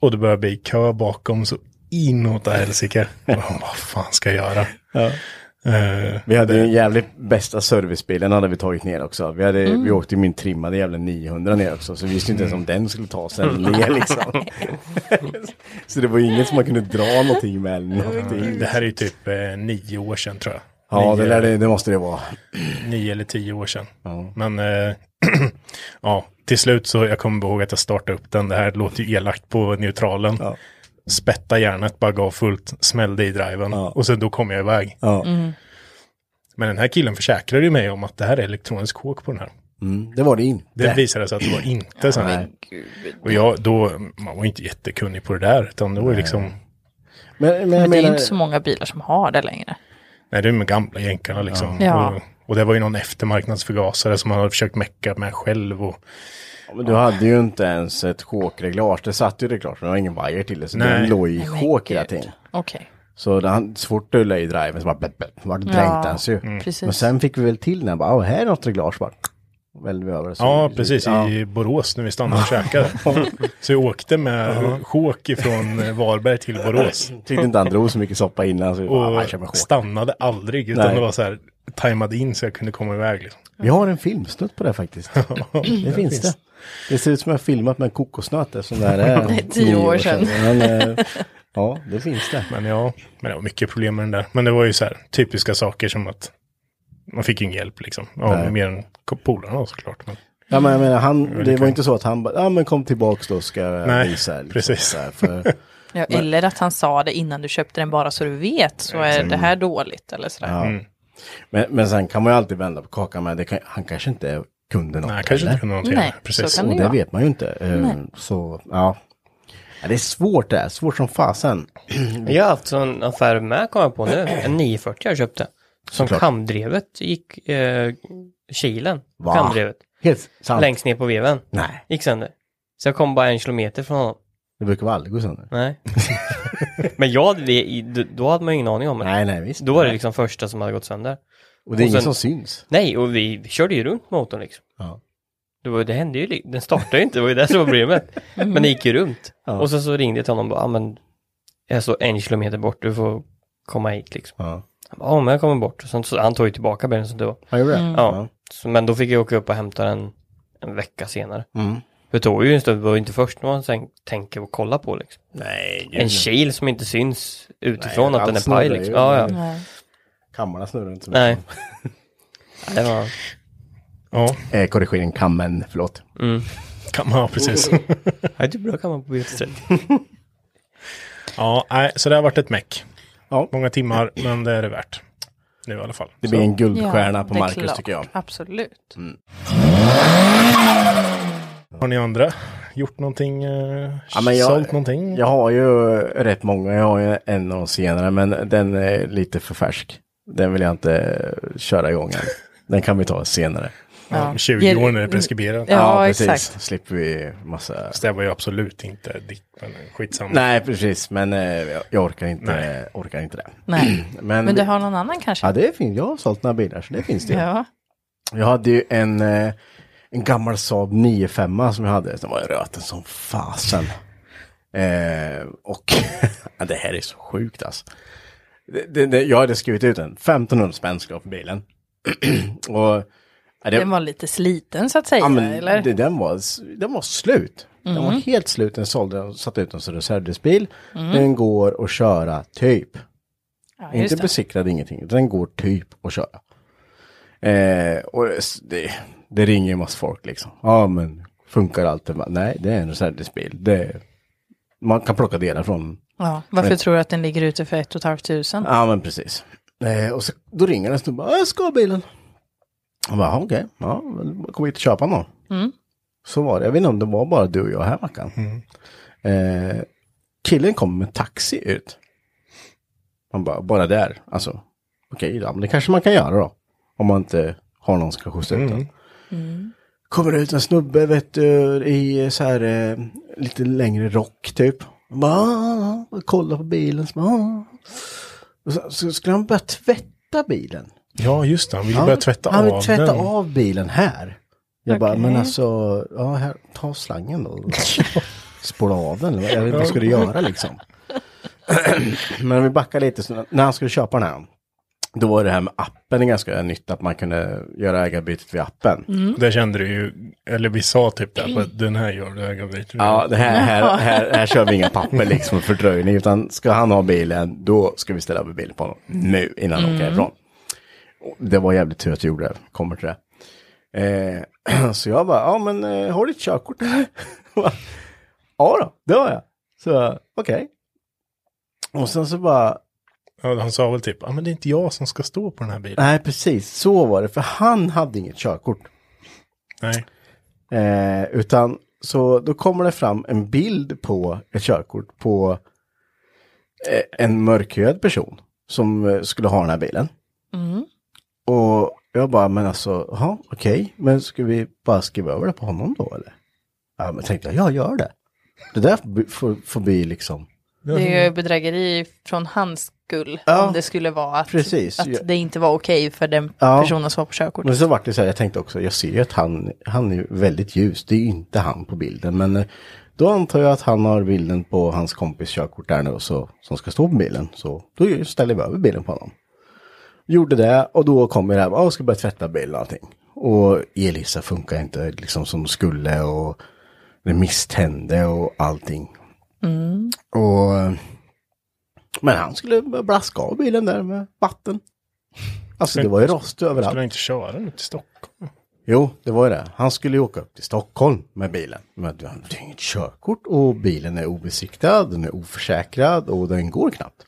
D: Och det börjar bli kö bakom så inåt helsike. Jag bara, Vad fan ska jag göra? Eh,
B: Vi hade ju en jävligt bästa servicebilen hade vi tagit ner också. Vi, hade, vi åkte ju min trimmade jävla 900 ner också. Så vi visste ju inte ens om den skulle ta sig ner liksom. så det var ju ingen som man kunde dra någonting med eller någonting.
D: det här är ju typ eh, nio år sedan tror jag.
B: liksom- Ja,
D: nio,
B: det, där, det, det måste det vara.
D: nio eller tio år sedan. Men eh, ja, till slut så jag kommer ihåg att jag startade upp den. Det här låter ju elakt på neutralen.
B: Ja.
D: Spätta järnet, bara gav fullt, smällde i driven
B: Ja.
D: och sen då kom jag iväg.
B: Ja.
D: Men den här killen försäkrade ju mig om att det här är elektronisk kåk på den här.
B: Mm, det var det inte.
D: Det visade sig att det var inte så här. Och jag, då, man var ju inte jättekunnig på det där, utan det var ju liksom,
B: Men, men, jag
A: Men eh, det är ju
B: menar-
A: inte så många bilar som har det längre.
D: nej det är de gamla jänkarna liksom.
A: Ja.
D: Och, och det var ju någon eftermarknadsförgasare som man hade försökt mecka med själv och
B: Ja, Men du hade ju inte ens ett chokreglage. Det satt ju det klart, men det var ingen vajer till det. Så
D: Nej.
B: den låg i
A: Men
B: chok hela
A: gud.
B: tiden.
A: Okej.
B: Så det, han, så fort du la i driven så bara bläpp, bläpp, vart dränkt den sig ju.
A: precis.
B: Men sen fick vi väl till den, bara, "Åh, här är något reglage bara. Välde vi över. Så,
D: Ja, precis.
B: Ja.
D: I Borås när vi stannade och käkade. så jag åkte med chok ifrån eh, Varberg till Borås.
B: Tyckte inte han drog så mycket soppa innan så vi bara, "Ah, jag kör med
D: Och
B: chok.
D: stannade aldrig, utan
B: Nej.
D: det var så här tajmade in så jag kunde komma iväg. Liksom.
B: Vi har en filmsnutt på det faktiskt. det finns det. Det ser ut som jag filmat med en kokosnöt eftersom det här är
A: tio
B: nio
A: år sedan.
B: Men, eh, ja, det finns det.
D: Men ja, men det var mycket problem med den där. Men det var ju så här typiska saker som att man fick ingen hjälp liksom. Ja,
B: Nej.
D: mer än ko- polarna såklart. Men,
B: Ja men jag menar, han, det var inte så att han bara, ja men kom tillbaks då ska jag
D: Nej,
B: visa. er", liksom,
D: precis.
B: så här, för,
A: Ja, eller att han sa det innan du köpte den bara så du vet så är det här dåligt eller sådär.
B: Ja. Men, men sen kan man ju alltid vända på kakan med, det kan, han kanske inte kunde något.
D: nej, kanske
B: eller?
D: inte kunde någonting.
A: Nej,
D: precis.
A: så kan
B: Och
A: det
B: det
A: vara.
B: vet man ju inte. Eh, Så, ja. ja. Det är svårt det här, svårt som fasen.
E: Jag har haft sån affär med, kom jag på nu. En 940 jag köpte. Som
B: Såklart.
E: kamdrevet gick eh, kilen.
B: Va?
E: Kamdrevet.
B: Helt sant.
E: Längst ner på veven.
B: Nej,
E: Gick sönder. Så jag kom bara en kilometer från honom.
B: det brukar väl aldrig gå sönder.
E: Nej. Men jag, hade- i- då- då hade man ju ingen aning om det.
B: Nej, nej, visst.
E: Då var det liksom första som hade gått sönder.
B: Och det är
E: och
B: ingen
E: sen-
B: som syns.
E: Nej, och vi körde ju runt motorn liksom.
B: Ja.
E: Det, var, det hände ju, li- den startade ju inte, det var ju det som var problemet. Men det gick ju runt.
B: Ja.
E: Och sen så ringde jag till honom och bara, "Ja, men jag står en kilometer bort, du får komma hit liksom.
B: Ja.
E: Han bara, "Ja, men jag kommer bort. Och sen, så, han tog ju tillbaka bilen som det var.
B: Han gjorde det?
A: Mm.
E: Ja. Så, men då fick jag åka upp och hämta den en vecka senare.
B: Ja. Mm.
E: Det tog ju en stund, det var ju inte först när man sen tänker och kollar på liksom.
B: Nej,
E: En kil som inte syns utifrån
B: Nej,
E: att den
B: allt
E: är paj
B: snurrar
E: liksom.
B: ju. Mm.
E: Ja, ja.
A: Nej.
B: Kammarna snurrar inte så
E: Nej.
B: mycket.
E: Det var...
D: Ja,
B: Nej. Eh, korrigering, kammen, förlåt.
D: kan man, ja, precis.
E: Ja, det är bra kan man på bilstället.
D: Ja, nej, så det har varit ett meck.
B: Ja.
D: Många timmar, men det är det värt. Nu i alla fall.
B: Det blir en guldstjärna
A: Ja,
B: på
A: det är
B: Marcus
A: klart.
B: tycker jag.
A: Absolut.
B: Mm.
D: Har ni andra gjort någonting? Eh,
B: Ja, men jag-
D: sålt någonting?
B: Jag har ju rätt många, jag har ju en av dem senare, men den är lite för färsk. Den vill jag inte eh, köra igång än. Den kan vi ta senare.
D: Om 20
A: Ger-
D: år när det är preskriberat.
A: Ja, exakt.
B: Slipper vi massa...
D: Fast Det var ju absolut inte ditt, men skitsamma.
B: Nej, precis, men eh, jag- jag orkar inte,
D: Nej.
B: orkar inte det.
A: Nej.
B: Men,
A: Men du har någon annan kanske?
B: Ja, det finns. Jag har sålt några bilar, så det finns det.
A: Ja.
B: Jag hade ju en, eh, en gammal Saab 95 som jag hade. Den var ju röten som fasen. Eh, och ja, det här är så sjukt alltså. Det, det, det, jag hade skrivit ut den. 1500 spänn ska jag ha för bilen. och, ja, det,
A: Den var lite sliten så att säga,
B: ja, men
A: eller? Mm.
B: Det, den, var, den var slut. Den var helt slut. Den sålde den och satte ut den som reservdelsbil. Den går att köra typ.
A: ja, just
B: Inte
A: det.
B: besiktad, ingenting. utan Den går typ att köra. Eh, och s- det, det ringer ju massa folk liksom. Ja, men funkar allt? det? Nej, det är en reservdelsbil. Det, man kan plocka delar från
A: Ja, varför tror du att den ligger ute för ett och ett halvt tusen?
B: Ja, men precis. Eh, och så, då ringer den och bara, jag ska ha bilen. Jag bara, "Ja, okej, ja, men kom hit och köpa någon. Så var det, jag vet inte om det var bara du och jag här Mackan. Eh, killen kom med taxi ut. Man bara, bara där, alltså. Okej, ja, men det kanske man kan göra då. Om man inte har någon som kan skjutsa ut den. Kommer det ut en snubbe, vet du, i så här eh, lite längre rock typ. Han Bara, "Ah, ah", kolla på bilen. Så, bara, "Ah." Och så, så skulle han börja tvätta bilen.
D: Ja, just det. Han ville börja tvätta
B: han vill
D: av
B: tvätta
D: den.
B: av bilen här. Jag bara, men alltså, ja, här, ta slangen då. Spola av den, eller vad- jag vet inte vad ska du göra liksom. men om vi backar lite, så när han skulle köpa den här, då var det här med appen ganska nytt, att man kunde göra ägarbytet via appen.
D: Det kände du ju, eller vi sa typ det, på att den här gör du ögonblick.
B: Ja, det här, här, här, här kör vi inga papper liksom och fördröjning, utan ska han ha bilen, då ska vi ställa över bilen på honom nu innan han åker härifrån. Och Det var jävligt tur att jag gjorde det, kommer till det. Eh, så jag bara, ja men eh, har du ett körkort? ja då, det har jag. Så okej. Och sen så bara,
D: Ja, han sa väl typ, ja men det är inte jag som ska stå på den här bilen.
B: nej precis, så var det, för han hade inget körkort.
D: Nej.
B: Eh, utan så då kommer det fram en bild på ett körkort på eh, en mörkhyad person som eh, skulle ha den här bilen. Och jag bara, men alltså, ja okej, men ska vi bara skriva över det på honom då eller? Ja, men tänkte jag, jag gör det. Det där får, bli- får, får bli liksom,
A: Det är ju bedrägeri från hans skull,
B: Ja.
A: om det skulle vara att,
B: Precis. Ja.
A: att det inte var okej för den
B: Ja. Mm.
A: personen som var på körkort.
B: men så vart det så här, jag tänkte också, jag ser ju att han, han är ju väldigt ljus, det är ju inte han på bilden, men eh, då antar jag att han har bilden på hans kompis körkort där nu så, som ska stå på bilen, så då ställer vi över bilen på honom. Gjorde det och då kom ju det här, "Ja, jag ska börja tvätta bilen och allting. Och Elisa funkar inte liksom som skulle och det misstände och allting. Och, eh, men han skulle börja blaska av bilen där med vatten. Alltså det var ju rost överallt.
D: Skulle han inte köra den till Stockholm?
B: Jo, det var ju det. Han skulle ju åka upp till Stockholm med bilen. Men du har inget körkort och bilen är obesiktad, den är oförsäkrad och den går knappt.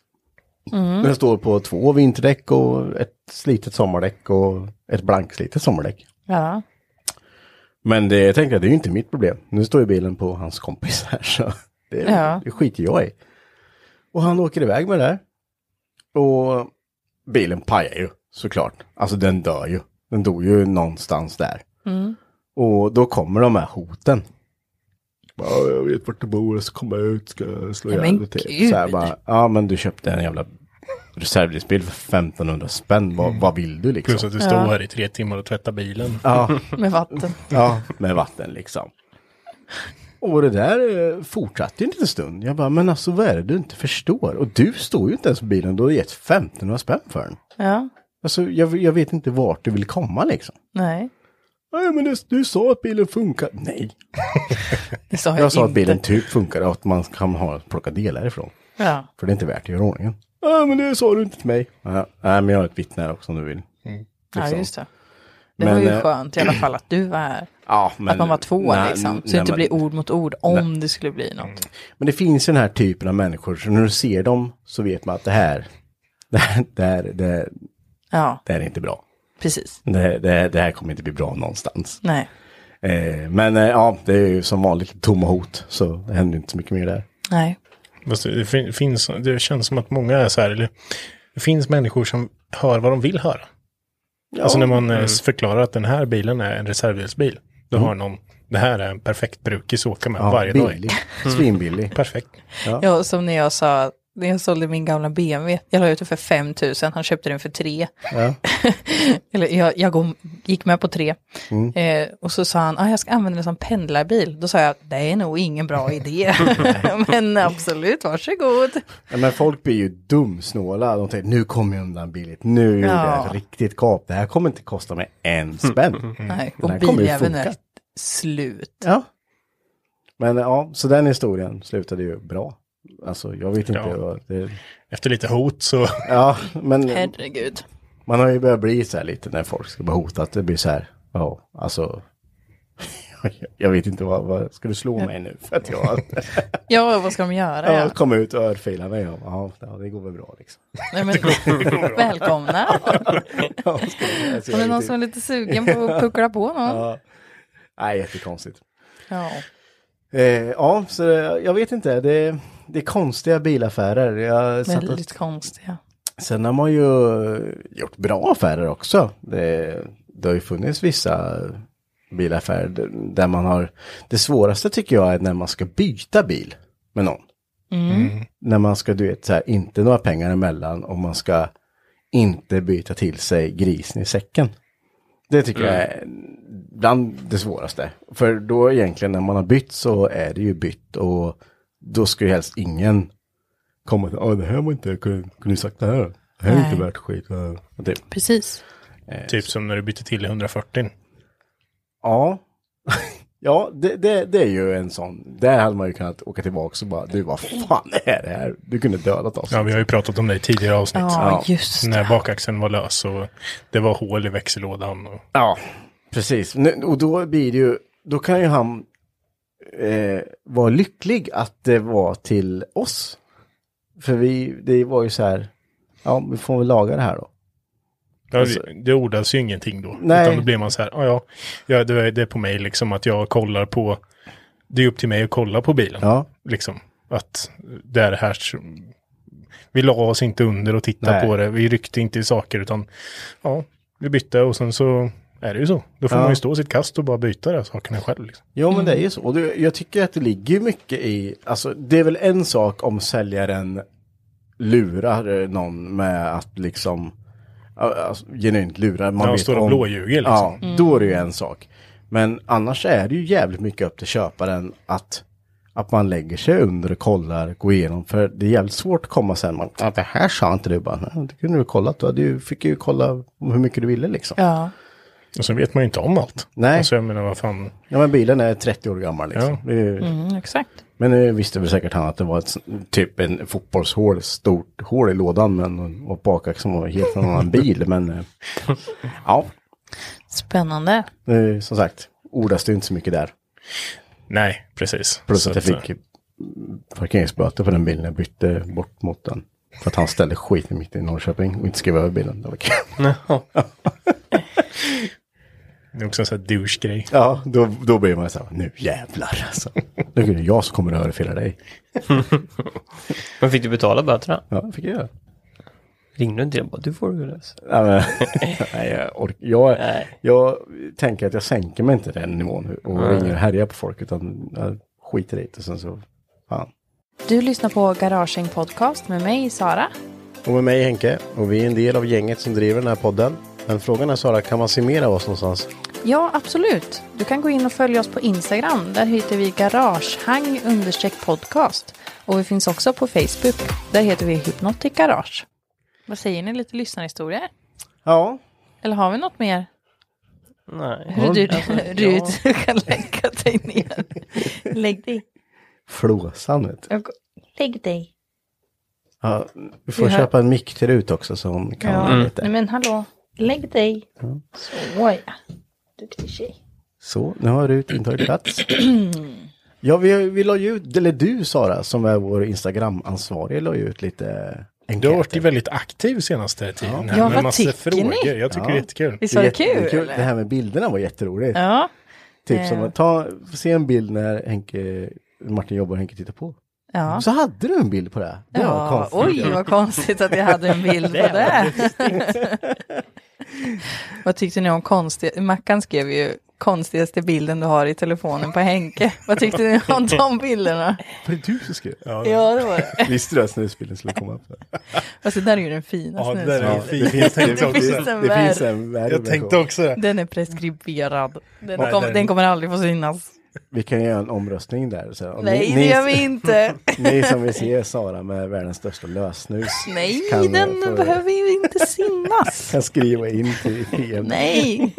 B: Den står på två vinterdäck och ett slitet sommardäck och ett blankslitet sommardäck.
A: Ja.
B: Men det, jag tänkte att det är ju inte mitt problem. Nu står ju bilen på hans kompis här så det,
A: Ja.
B: det skiter jag i. Och han åker iväg med det här. Och bilen pajar ju. Såklart. Alltså den dör ju. Den dog ju någonstans där.
A: Mm.
B: Och då kommer de här hoten. Ja, jag vet vart du bor, så kommer jag ut, ska jag slå
A: Ja,
B: ihjäl
A: men
B: dig till.
A: gud.
B: Så här bara, ja men du köpte en jävla reservdelsbil för 1500 spänn, vad, vad vill du liksom?
D: Plus att du står här i tre timmar och tvättar bilen.
B: Ja,
A: med vatten.
B: ja, med vatten liksom. Och det där eh, fortsatte ju en liten stund. Jag bara, men alltså vad är det du inte förstår? Och du står ju inte ens på bilen, du har gett 1500 spänn för den.
A: Ja,
B: Alltså jag, jag vet inte vart du vill komma liksom.
A: nej.
B: Nej men det, du sa att bilen funkar. Nej.
A: Det sa jag,
B: Jag sa att
A: inte.
B: bilen typ funkar och att man kan ha, plocka delar ifrån.
A: Ja.
B: För det är inte värt att göra i ordningen. Nej men det sa du inte till mig. Ja, Nej men jag har ett vittne här också om du vill.
A: ja,
B: Liksom.
A: just det. Det
B: Men,
A: var ju
B: eh,
A: skönt i alla fall att du var här.
B: Ja, men,
A: Att man var två
B: nej,
A: liksom. Så det
B: nej,
A: inte
B: men-
A: blir ord mot ord om det skulle bli något.
B: Men det finns ju den här typen av människor, så när du ser dem så vet man att det här, det här, det här, det här,
A: Ja,
B: det här är inte bra.
A: precis.
B: Det, här- det, här- det här kommer inte bli bra någonstans.
A: Nej.
B: Eh, men eh, ja, det är ju som vanligt tomma hot, så det händer inte så mycket mer där.
A: Nej.
D: Fast det, fin- finns, det känns som att många är så här, eller det finns människor som hör vad de vill höra. Alltså när man eh, förklarar att den här bilen är en reservdelsbil, då hör någon, det här är en perfekt brukis att åka med
B: Ja,
D: varje dag. Mm.
B: billig. Svinbillig.
D: Perfekt.
A: Ja, som när jag sa, när jag sålde min gamla BMW. Jag la ut den för 5 000, han köpte den för 3.
B: Ja.
A: Eller jag, jag gå- gick med på 3.
B: Mm.
A: Eh, och så sa han, ah, jag ska använda den som pendlarbil. Då sa jag, det är nog ingen bra idé. Men absolut, varsågod.
B: Ja, men folk blir ju dumsnåla. De tänker nu kommer jag undan billigt. Nu gjorde jag ett riktigt kap. Det här kommer inte kosta mig
D: Mm.
B: en spänn.
A: Nej,
B: Den
A: och
B: här kommer ju
A: biljäveln
B: funka.
A: är slut.
B: Ja. Men ja, så den historien slutade ju bra. Alltså jag vet inte.
D: Ja.
B: vad Det,
D: Efter lite hot så,
B: ja, men
A: Herregud.
B: man har ju börjat bli så här lite när folk ska bli hotat. Det blir så här, ja, alltså. Jag vet inte vad, vad ska du slå mig nu för att jag,
A: Ja, vad ska de göra? Ja.
B: jag kom ut och örfilade mig. Ja, ja, det går väl bra liksom.
A: Nej, men, välkomna.
B: Ja, ska jag-
A: Om det
B: alltså,
A: är
B: jag
A: någon
B: vet
A: som är
B: inte.
A: lite sugen på att puckla på någon.
B: Ja. Nej, jättekonstigt.
A: Ja.
B: Eh, ja, så det, jag vet inte. Det, det är konstiga bilaffärer. Jag satt och,
A: Väldigt konstiga.
B: sen har man ju gjort bra affärer också. Det, det har ju funnits vissa bilaffärer d- där man har... Det svåraste tycker jag är när man ska byta bil med någon. När man ska, du vet, så här, inte några pengar emellan och man ska inte byta till sig grisen i säcken. Det tycker jag är bland det svåraste. För då egentligen när man har bytt så är det ju bytt och då ska ju helst ingen komma och säga, "Åh, det här var inte, kunde kunde du sagt det här? Det här är inte
A: Nej.
B: värt skit. Ja, och Typ.
A: Precis.
D: typ som när du bytte till i 140.
B: Ja, ja det, det, det är ju en sån. Där hade man ju kunnat åka tillbaka och bara, du vad fan är det här? Du kunde dödat oss.
D: Ja, vi har ju pratat om det i tidigare avsnitt.
A: Ja, just
D: När
A: det.
D: bakaxeln var lös och det var hål i växellådan. Och,
B: Ja, precis. Nu, och då blir det ju, då kan ju han eh, vara lycklig att det var till oss. För vi, det var ju så här, ja, vi får väl laga det här då.
D: Ja, Alltså, det ordas ju ingenting då.
B: Alltså, Nej.
D: Utan då blir man så här, "Ah, ja, ja det, är- det är på mig liksom att jag kollar på, det är upp till mig att kolla på bilen.
B: Ja,
D: liksom. Att det är det här som... Vi la oss inte under och tittade
B: Nej.
D: på det. Vi ryckte inte i saker utan ja, vi bytte och sen så är det ju så. Då får
B: Ja.
D: man ju stå sitt kast och bara byta de här sakerna själv. Liksom.
B: jo men det är ju så. Och det, jag tycker att det ligger mycket i, alltså det är väl en sak om säljaren lurar eh, någon med att liksom, ja, alltså, genuint lurar. Man
D: När de
B: vet
D: står och
B: om-
D: blåljuger liksom.
B: Ja, då är det ju en sak. Men annars är det ju jävligt mycket upp till köparen att, att man lägger sig under och kollar, går igenom. För det är jävligt svårt att komma sen. Man, "Ja, det här sa inte du bara. Nej, det kunde du kollat. Du hade ju- fick ju kolla hur mycket du ville liksom. Ja,
A: Ja.
D: Och sen vet man ju inte om allt.
B: Nej.
D: Alltså jag menar vad fan.
B: men bilen är 30 år gammal liksom.
D: Ja.
B: Det är ju-
A: Mm, exakt.
B: Men nu visste väl säkert han att det var ett, sån- typ en fotbollshål, stort hål i lådan. Men, och bakaxeln var helt en annan bil. Men eh, ja,
A: Spännande.
B: eh, som sagt. Ordas det inte så mycket där.
D: Nej, precis.
B: Plus
D: Så
B: att jag
D: eh,
B: fick parkeringsböter på den bilen jag bytte bort mot den. För att han ställde skiten mitt i Norrköping och inte skrev över bilen. Det var kul.
D: Det är också en sån här douche-grej.
B: Ja, då, då blir man så här, nu jävlar alltså. Nu är det jag som kommer att örfila dig.
E: Men fick du betala böterna?
B: Ja, fick jag göra.
E: Ringde du inte? Jag bara, du får det lösa.
B: Nej, men, nej, jag, ork, jag,
E: Nej.
B: jag tänker att jag sänker mig inte till den nivån nu och ringer och härjar på folk utan jag skiter i det och sen så, fan.
A: Du lyssnar på Garagehäng Podcast med mig, Sara.
B: Och med mig Henke och vi är en del av gänget som driver den här podden. Men frågan är Sara, kan man summera oss någonstans?
A: Ja, absolut. Du kan gå in och följa oss på Instagram. Där heter vi garagehang understreck podcast. Och vi finns också på Facebook. Där heter vi Hypnotic Garage. Vad säger ni? Lite lyssnarhistorier?
B: Ja,
A: Eller har vi något mer?
E: Nej.
A: Hur du, Rut, du kan lägga dig ner. Lägg dig.
B: flåsan vet du.
A: Lägg dig.
B: Ja, vi får
A: Vi har-
B: köpa en mick till Rut också så hon kan
A: Ja.
B: lite.
A: Nej men hallå. Lägg dig. Så ja. Duktig tjej.
B: Så, nu har Rut intagit plats. Ja, vi, vi la ju ut, eller du Sara, som är vår Instagram-ansvarig, la ju ut lite
D: Du har varit
B: enkäter.
D: väldigt aktiv senaste tiden. här
A: Ja,
D: med
A: vad
D: massa
A: tycker ni?
D: frågor. Jag tycker det är jättekul.
A: Visst var det
B: jätte-
A: kul?
B: Det här med bilderna var jätteroligt.
A: Ja.
B: Typ som
A: Eh.
B: att ta, få se en bild när Henke, Martin jobbar och Henke tittar på.
A: Ja.
B: Så hade du en bild på det. Det var
A: ja.
B: konstigt.
A: Oj, vad konstigt att jag hade en bild på det. vad tyckte ni om konstigt? Mackan skrev ju konstigaste bilden du har i telefonen på Henke. Vad tyckte ni om de bilderna?
B: Var det du som skrev? Ja.
A: Ja, det var det.
B: Visste du att snusbilden skulle komma upp?
A: Fast det där är ju Alltså, den fina
D: Ja, det där
A: snusbilden.
D: är fint. Jag tänkte
A: Det finns
D: också,
A: en
B: Det finns
A: värld.
B: en värre
D: jag tänkte
B: version.
D: också det.
A: Den är preskriberad. Den,
D: Nej,
A: kom,
D: den-
A: den kommer aldrig få synas.
B: Vi kan göra en omröstning där. Så, om
A: Nej,
B: ni,
A: det
B: ni,
A: gör vi inte.
B: ni som vill se Sara med världens största lössnus.
A: Nej,
B: kan,
A: den
B: eh, få-
A: behöver ju inte synas.
B: Kan skriva in till PM.
A: Nej,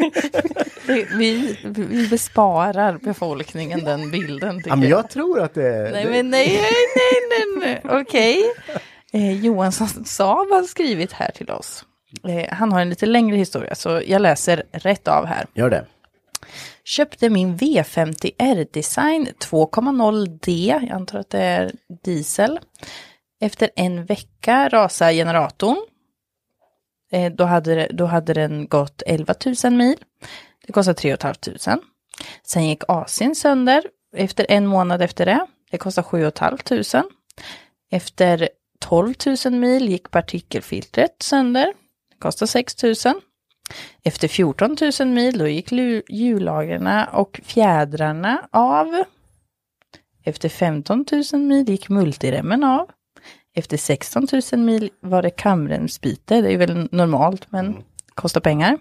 A: vi, vi, vi besparar befolkningen den bilden. tycker
B: Ja, men jag tror att det
A: Nej, men nej, nej, nej, nej, nej. okej. Eh, Johansson Saab har skrivit här till oss. Eh, han har en lite längre historia, så jag läser rätt av här.
B: Gör det.
A: Köpte min V50R Design 2.0D, jag antar att det är diesel. Efter en vecka rasade generatorn. Eh, då, hade, det- då hade den gått 11 000 mil. Det kostade 3 500. Sen gick AC'n sönder efter en månad efter det. Det kostade 7 500. Efter 12 000 mil gick partikelfiltret sönder. Det kostade 6 000. Efter 14 000 mil då gick lu- hjullagren och fjädrarna av. Efter 15 000 mil gick multiremmen av. Efter 16 000 mil var det kamremsbyte. Det är väl normalt men kostar pengar.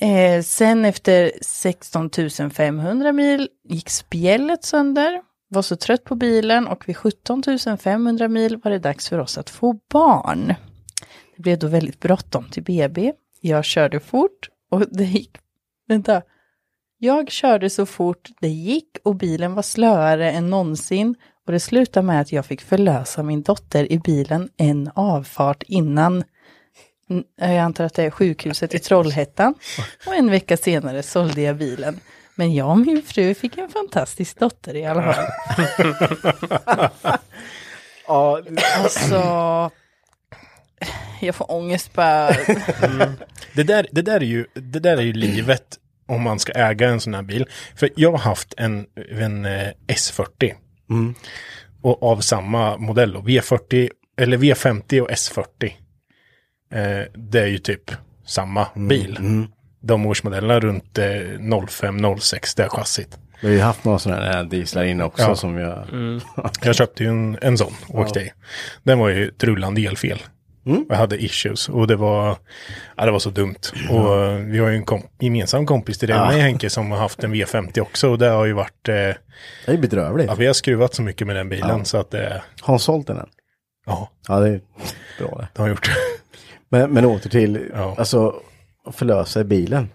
A: Eh, sen efter 16 500 mil gick spjället sönder. Var så trött på bilen och vid 17 500 mil var det dags för oss att få barn. Det blev då väldigt bråttom till BB. Jag körde fort och det gick... Vänta. Jag körde så fort det gick och bilen var slöare än någonsin och det slutade med att jag fick förlösa min dotter i bilen en avfart innan n- jag antar att det är sjukhuset i Trollhättan. Och en vecka senare sålde jag bilen. Men jag och min fru fick en fantastisk dotter i alla fall.
B: Ja,
A: Alltså, jag får ångest bara.
D: Det där, det, där är ju, det där är ju livet om man ska äga en sån här bil. För jag har haft en, en eh, S40. Mm. Och av samma modell då, V40, eller V50 och S40. Eh, det är ju typ samma bil. De årsmodellerna runt eh, 05-06, det här chassit.
B: vi har ju haft några sådana här dieslar inne också
D: Ja.
B: som jag...
D: Jag köpte ju en, en sån och åkte i. Den var ju ett rullande elfel. Jag hade issues och det var, ja, det var så dumt. Och eh, vi har ju en kom, gemensam kompis till dig med Henke som har haft en V50 också. Och det har ju varit, eh,
B: Det är bedrövligt.
D: ja, vi har skruvat så mycket med den bilen så att det,
B: Har hon sålt den än?
D: ja,
B: Ja, det är bra det.
D: det har gjort.
B: Men, men åter till,
D: Ja.
B: alltså, förlösa i bilen.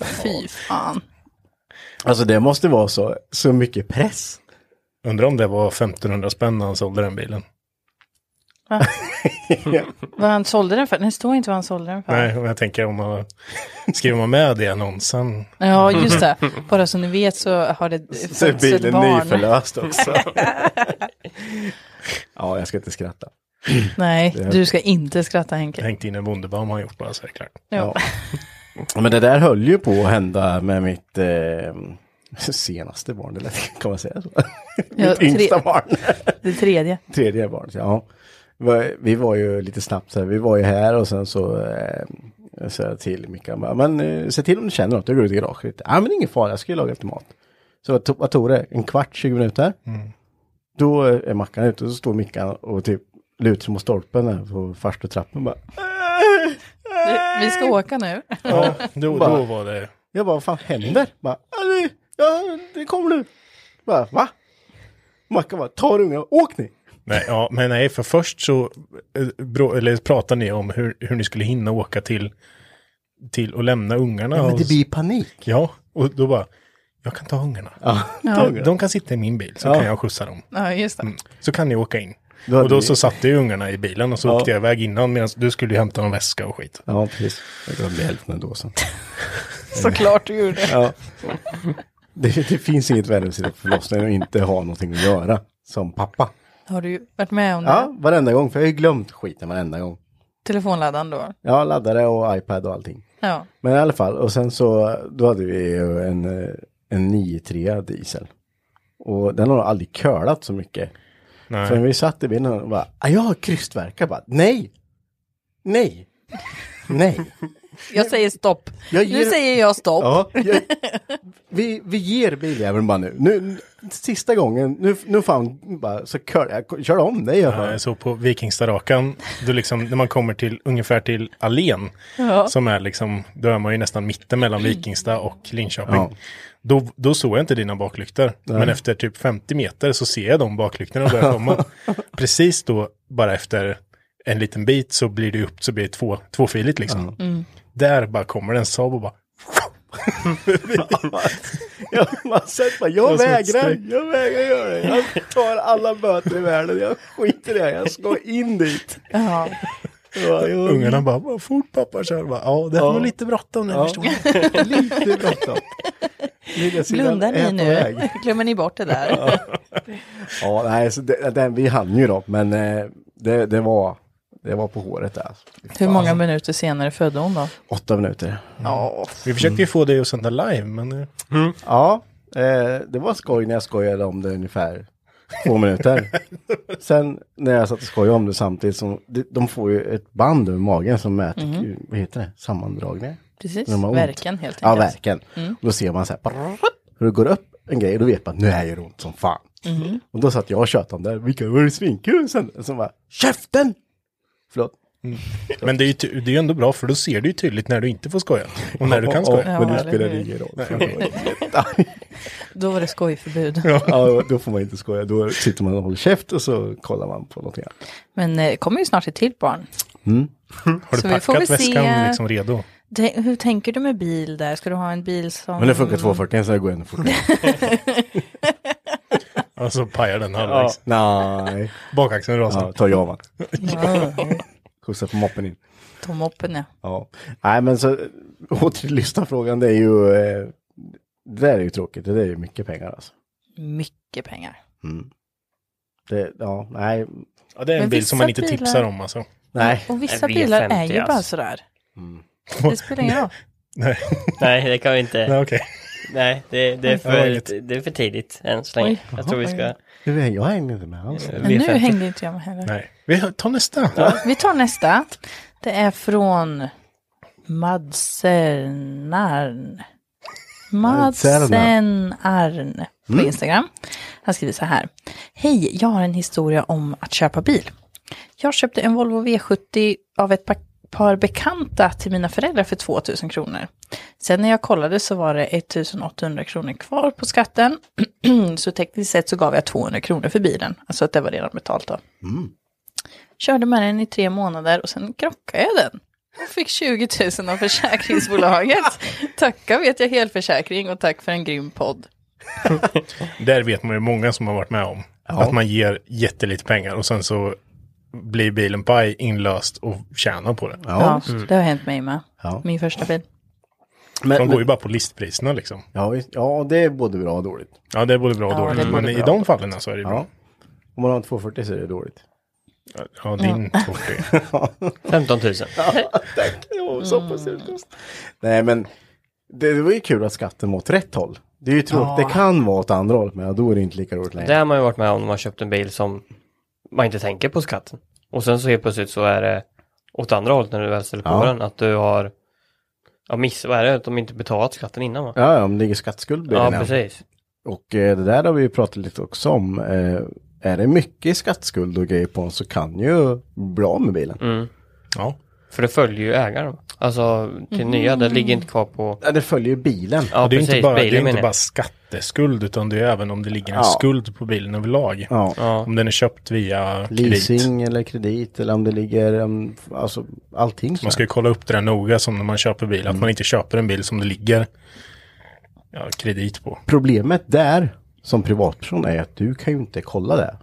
A: Fy fan.
B: Alltså det måste vara så, så mycket press.
D: Undrar om det var 1500 spänn när han sålde den bilen.
A: Vad han sålde den för? Det står inte vad han sålde den för.
D: Nej, men jag tänker om man skriver man med det i annonsen.
A: Ja, just det. Bara så ni vet så har det
B: Så är
A: fötts ett
B: bilen
A: barn.
B: nyförlöst också. ja, jag ska inte skratta.
A: Nej, du ska inte skratta
D: Jag
A: Henke.
D: hängt in en Wunderbaum har han gjort bara så är det klart.
A: Ja.
B: Men det där höll ju på att hända med mitt eh, senaste barn, eller kan man säga så?
A: Ja,
B: mitt yngsta
A: tre,
B: barn.
A: det tredje.
B: Tredje barn, ja. Det var- Vi var ju lite snabbt så här, vi var ju här och sen så eh, jag sa till Micke, han bara, men eh, se till om du känner något, jag går ut i garaget. Ja men ingen fara, jag ska ju laga lite mat. Så vad to- vad tog det? En kvart, 20 minuter?
D: Mm.
B: Då eh, är Mackan ute och så står Mickan och typ lutar sig mot stolpen där på farstutrappan bara.
A: Vi ska åka nu.
D: Ja, då,
B: Bara-
D: då var det...
B: Jag bara, vad fan händer? Bara, "Ja, det- ja, det kommer nu. Bara, va? Mackan bara, ta unga, åk ni.
D: Nej, ja, men nej, för först så eh, bro, eller pratade ni om hur, hur ni skulle hinna åka till, till och lämna ungarna.
B: Men
D: och,
B: det blir panik.
D: ja, och då bara, jag kan ta ungarna.
B: Ja, ta
D: De,
B: ungarna.
D: de kan sitta i min bil så
B: Ja.
D: kan jag skjutsa dem.
A: Ja, just
B: Mm.
A: det.
D: Så kan ni åka in.
B: Då hade
D: och då
B: vi-
D: så satte ju ungarna i bilen och så
B: Ja.
D: åkte jag iväg innan medan du skulle ju hämta någon väska och skit.
B: Ja, precis. Jag glömde hälften ändå sen.
A: Såklart du gjorde.
B: Ja. Det, det finns inget värre än att sitta på förlossningen och inte ha någonting att göra. Som pappa.
A: Har du ju varit med om det?
B: Ja, varenda gång. För jag har ju glömt skiten varenda gång.
A: Telefonladdaren då?
B: Ja, laddare och iPad och allting.
A: Ja.
B: Men i alla fall, och sen så, då hade vi ju en, eh, en 9-3 diesel. Och den har nog aldrig curlat så mycket.
D: Nej.
B: För när vi satt i bilen och bara, "Ah, jag har krystvärkar bara, nej! Nej! Nej!
A: Jag säger stopp.
B: Jag
A: Nu säger jag stopp.
B: Ja, jag, vi, vi ger biljäveln bara nu. nu. Sista gången, nu, nu fan bara, så kör, jag kör om dig. Jag
D: Eh,
B: bara.
D: Så på Vikingstarakan, då liksom, när man kommer till ungefär till Allén, som är liksom, då är man ju nästan mitten mellan Vikingsta och Linköping.
B: Ja.
D: Då, då såg jag inte dina baklyktor, men efter typ 50 meter så ser jag de baklyktorna börja komma. Precis då, bara efter en liten bit så blir det upp, så blir det två, tvåfiligt liksom. Där bara kommer det en Saab och bara,
B: Jag, man sett bara, jag
D: var som ett
B: vägrar,
D: streck.
B: jag vägrar göra det. Jag tar alla böter i världen, jag skiter i det, jag ska in dit.
A: Ja.
B: Ja, jag,
D: ungarna bara, vad fort pappa kör. Bara, ja, det är
B: Ja.
D: nog lite bråttom nu,
B: Ja.
D: förstår jag.
B: lite bråttom. Lillasyrran
A: Blundar
B: är
A: ni
B: på
A: nu?
B: väg.
A: Glömmer ni bort det där?
B: Ja, nej, så det, den, vi hann ju då, men eh, det, det, var, det var på håret där. alltså.
A: Hur många minuter senare födde hon då?
B: Åtta minuter.
A: Ja.
D: Vi försökte ju få dig att sända live, men eh,
B: Ja, eh, det var skoj när jag skojade om det ungefär två minuter. Sen när jag satt och skojade om det samtidigt som, de- de får ju ett band över magen som mäter, vad heter det, sammandragningar?
A: Precis,
B: När de har ont.
A: verken Mhm. helt enkelt. Mm.
B: Ja, verken. Och då ser man så här, prrrr, hur det går upp en grej och då vet man, nu är det ont som fan.
A: Mhm.
B: Och då satt jag och tjötade om det, här, vilka var det svinkul? Sen, sen bara, käften! Förlåt.
D: Men det är ju ty- det är ju ändå bra för då ser du ju tydligt när du inte får skoja. Och när du kan skoja.
B: men
A: Ja,
B: det
A: eller
B: spelar
A: hur?
B: ingen roll. för jag var jättearg.
A: Då var det skojförbud.
B: ja, då får man inte skoja, då sitter man och håller käft och så kollar man på någonting annat.
A: Men eh, kommer ju snart ett till barn.
D: Har du
A: Så vi får
D: packat
A: väl se-
D: väskan liksom redo?
A: Det, hur tänker du med bil där? Ska du ha en bil som...
B: Men det funkar 240 så det går ännu fortare.
D: Och så Alltså, pajar den
B: Ja.
D: halvvägs.
B: Nej,
D: Bakaxeln rasar.
B: ja, ta Javan.
A: Ja,
B: Skjutsa på moppen in.
A: Tom Oppen, ja.
B: Ja. Nej men så, åter till lyssnarfrågan, det är ju, eh, det där är ju tråkigt, det där är ju mycket pengar alltså.
A: Mycket pengar.
B: Det, ja, nej,
D: Ja, det är en
A: Men
D: bil
A: vissa
D: som man inte
A: bilar-
D: tipsar om alltså.
B: nej.
A: Och vissa
E: En V50,
A: bilar är ju bara
E: alltså.
A: sådär. Det spelar ingen roll.
D: Nej,
E: Nej, det kan vi inte.
D: nej okej.
E: Nej, det, det, är,
D: Det var
E: för,
D: inget.
E: det är för tidigt än så länge. Jag tror vi ska... eh,
B: Du, jag hänger inte med alls.
A: Men nu hängde inte jag med heller.
D: Nej. Vi tar nästa.
A: Vi tar nästa. Det är från Madsen Arn. Madsen Arn på Instagram. Han skriver så här. Hej, jag har en historia om att köpa bil. Jag köpte en Volvo V70 av ett pa- par bekanta till mina föräldrar för 2000 kronor. Sen när jag kollade så var det 1800 kronor kvar på skatten. så tekniskt sett så gav jag 200 kronor för bilen. Alltså att det var redan betalt då. Körde med den i tre månader och sen krockade jag den. Och fick 20 000 av försäkringsbolaget. Tacka vet jag helförsäkring och tack för en grym podd.
D: Där vet man ju många som har varit med om. Att man ger jättelite pengar och sen så blir bilen paj inlöst och tjänar på det.
B: Ja, Mm.
A: det har hänt mig med.
B: Ja.
A: Min första bil.
D: De
B: men,
D: går
B: men,
D: ju bara på listpriserna liksom.
B: ja, visst. ja, det är både bra och dåligt.
D: Ja, det är både bra och
A: Ja, det är
D: dåligt.
A: både
D: Men i
A: bra
D: de fallen så är det ju bra.
B: Ja. Om man har en 240 så är det dåligt.
D: Ja, din 240.
E: 15 000.
B: Tack, jo, så pass
D: Mm.
B: Nej, men det, det var ju kul att skatten var åt rätt håll. Det är ju tråkigt, det kan vara åt andra hållet, men då är det inte lika roligt längre.
E: Det har man ju varit med om när man köpt en bil som man inte tänker på skatten. Och sen så helt plötsligt så är det åt andra hållet när du väl ställer på
B: Ja.
E: den. Att du har ja, miss, vad är det? Att de inte betalat skatten innan va?
B: Ja, om det ligger skattskuld bredvid
E: Ja,
B: den.
E: precis.
B: Och eh, det där har vi ju pratat lite också om. Eh, är det mycket skattskuld och grejer på en så kan ju bra med bilen.
E: Mm.
D: Ja.
E: För det följer ju ägaren. Alltså till nya, det ligger inte kvar på...
B: Ja, det följer ju bilen.
E: Ja,
D: det är,
E: precis,
D: inte bara, det
E: bilen
D: är inte
E: menar jag.
D: bara skatteskuld utan det är även om det ligger en
B: Ja.
D: skuld på bilen överlag.
B: Ja.
E: Ja.
D: Om den är köpt via kredit.
B: Leasing eller kredit eller om det ligger, um, alltså allting
D: Man
B: sånt.
D: ska ju kolla upp det där noga som när man köper bil. Att man inte köper en bil som det ligger ja, kredit på.
B: Problemet där som privatperson är att du kan ju inte kolla det.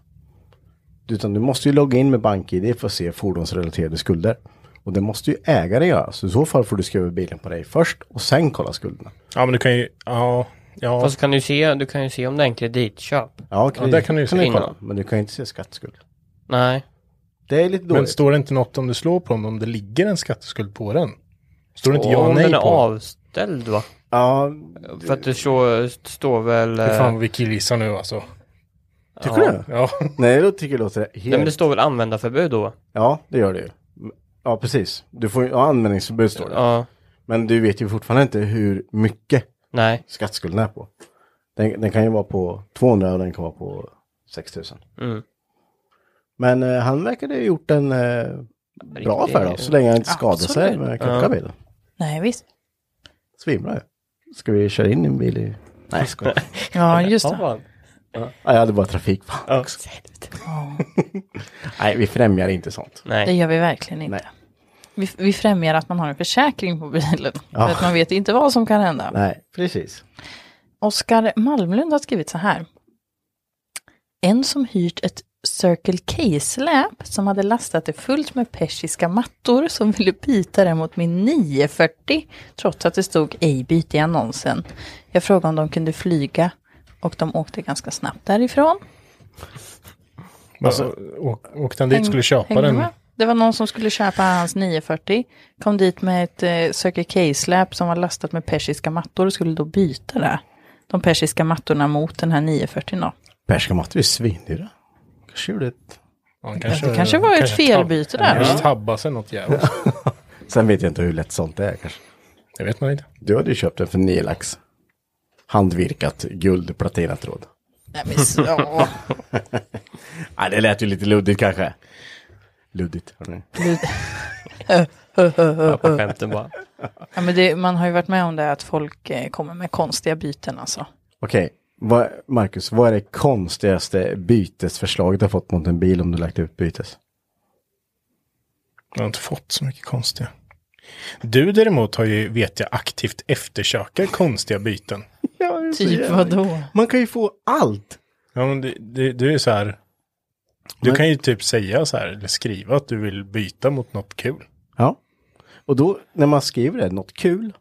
B: Utan du måste ju logga in med BankID för att se fordonsrelaterade skulder. Och det måste ju ägaren göra. Så i så fall får du skriva bilen på dig först och sen kolla skulderna.
D: Ja men du kan ju, ja, ja.
E: Fast kan du, se, du kan ju se om det är en kreditköp.
B: Ja, kredit,
D: där kan du ju se.
B: kolla. Men du kan ju inte se skatteskuld.
E: Nej.
B: Det är lite
D: men
B: dåligt.
D: står det inte något om du slår på den om det ligger en skatteskuld på den? Står det inte ja
E: och
D: och
E: om
D: nej
E: den
D: på?
E: är avställd va?
B: ja,
E: För att det så, står väl...
D: Hur fan
E: eh,
D: vi killgissar nu alltså.
B: tycker du det?
D: Ja,
B: Nej, då tycker jag det låter
E: Nej, men
B: helt...
E: det står väl användarförbud då?
B: Ja, det gör det ju. Ja, precis. Du får ju ja, användningsförbud står det.
E: Ja.
B: Men du vet ju fortfarande inte hur mycket
E: Nej.
B: skattskulden är på. Den, den kan ju vara på 200 och den kan vara på 6000.
E: Mm.
B: Men eh, han verkade ha gjort en eh, bra affär då, så länge han inte skadade sig med krocka bilen.
A: Nej, visst.
B: Svinbra ju. Ska vi köra in i en bil i... Nej, skoja.
A: Ja, just det.
E: fan.
B: ja, jag hade bara trafik. Fan.
E: Ja.
B: Nej, vi främjar inte sånt.
A: Det
E: Nej.
A: gör vi verkligen inte.
B: Nej.
A: Vi, vi främjar att man har en försäkring på bilen.
B: Ja.
A: För att man vet inte vad som kan hända.
B: Nej, precis.
A: Oskar Malmlund har skrivit så här. En som hyrt ett Circle K-släp som hade lastat det fullt med persiska mattor som ville byta det mot min 940 trots att det stod ej byte i annonsen. Jag frågade om de kunde flyga och de åkte ganska snabbt därifrån.
D: alltså, å- åkte han dit skulle köpa
A: Hängde
D: den.
A: med? Det var någon som skulle köpa hans 940, kom dit med ett eh, Circle K-släp som var lastat med persiska mattor och skulle då byta det. De persiska mattorna mot den här 940 då.
B: Persiska mattor är svindyra. Kanske gjorde ett...
D: Ja, han
A: det kanske var ett felbyte där,
D: Han kanske
A: va?
D: tabbade sig något jävligt.
B: Sen vet jag inte hur lätt sånt är kanske.
D: Det vet man inte.
B: Du hade ju köpt den för 9 lax. Handvirkat guld platinat tråd.
A: Nej, men så.
B: Nej, det lät ju lite luddigt kanske. Luddigt. hörni.
E: Ja, på skämten bara.
A: Ja, men det, man har ju varit med om det att folk eh, kommer med konstiga byten alltså.
B: Okej, vad, Marcus, vad är det konstigaste bytesförslaget du har fått mot en bil om du lagt ut bytes?
D: Jag har inte fått så mycket konstiga. Du däremot har ju, vet jag, aktivt eftersöker konstiga byten.
A: Typ vadå?
B: Man kan ju få allt.
D: Ja, men det, det, det är så här. Du kan ju typ säga så här, eller skriva att du vill byta mot något kul.
B: Ja. Och då, när man skriver det, något kul,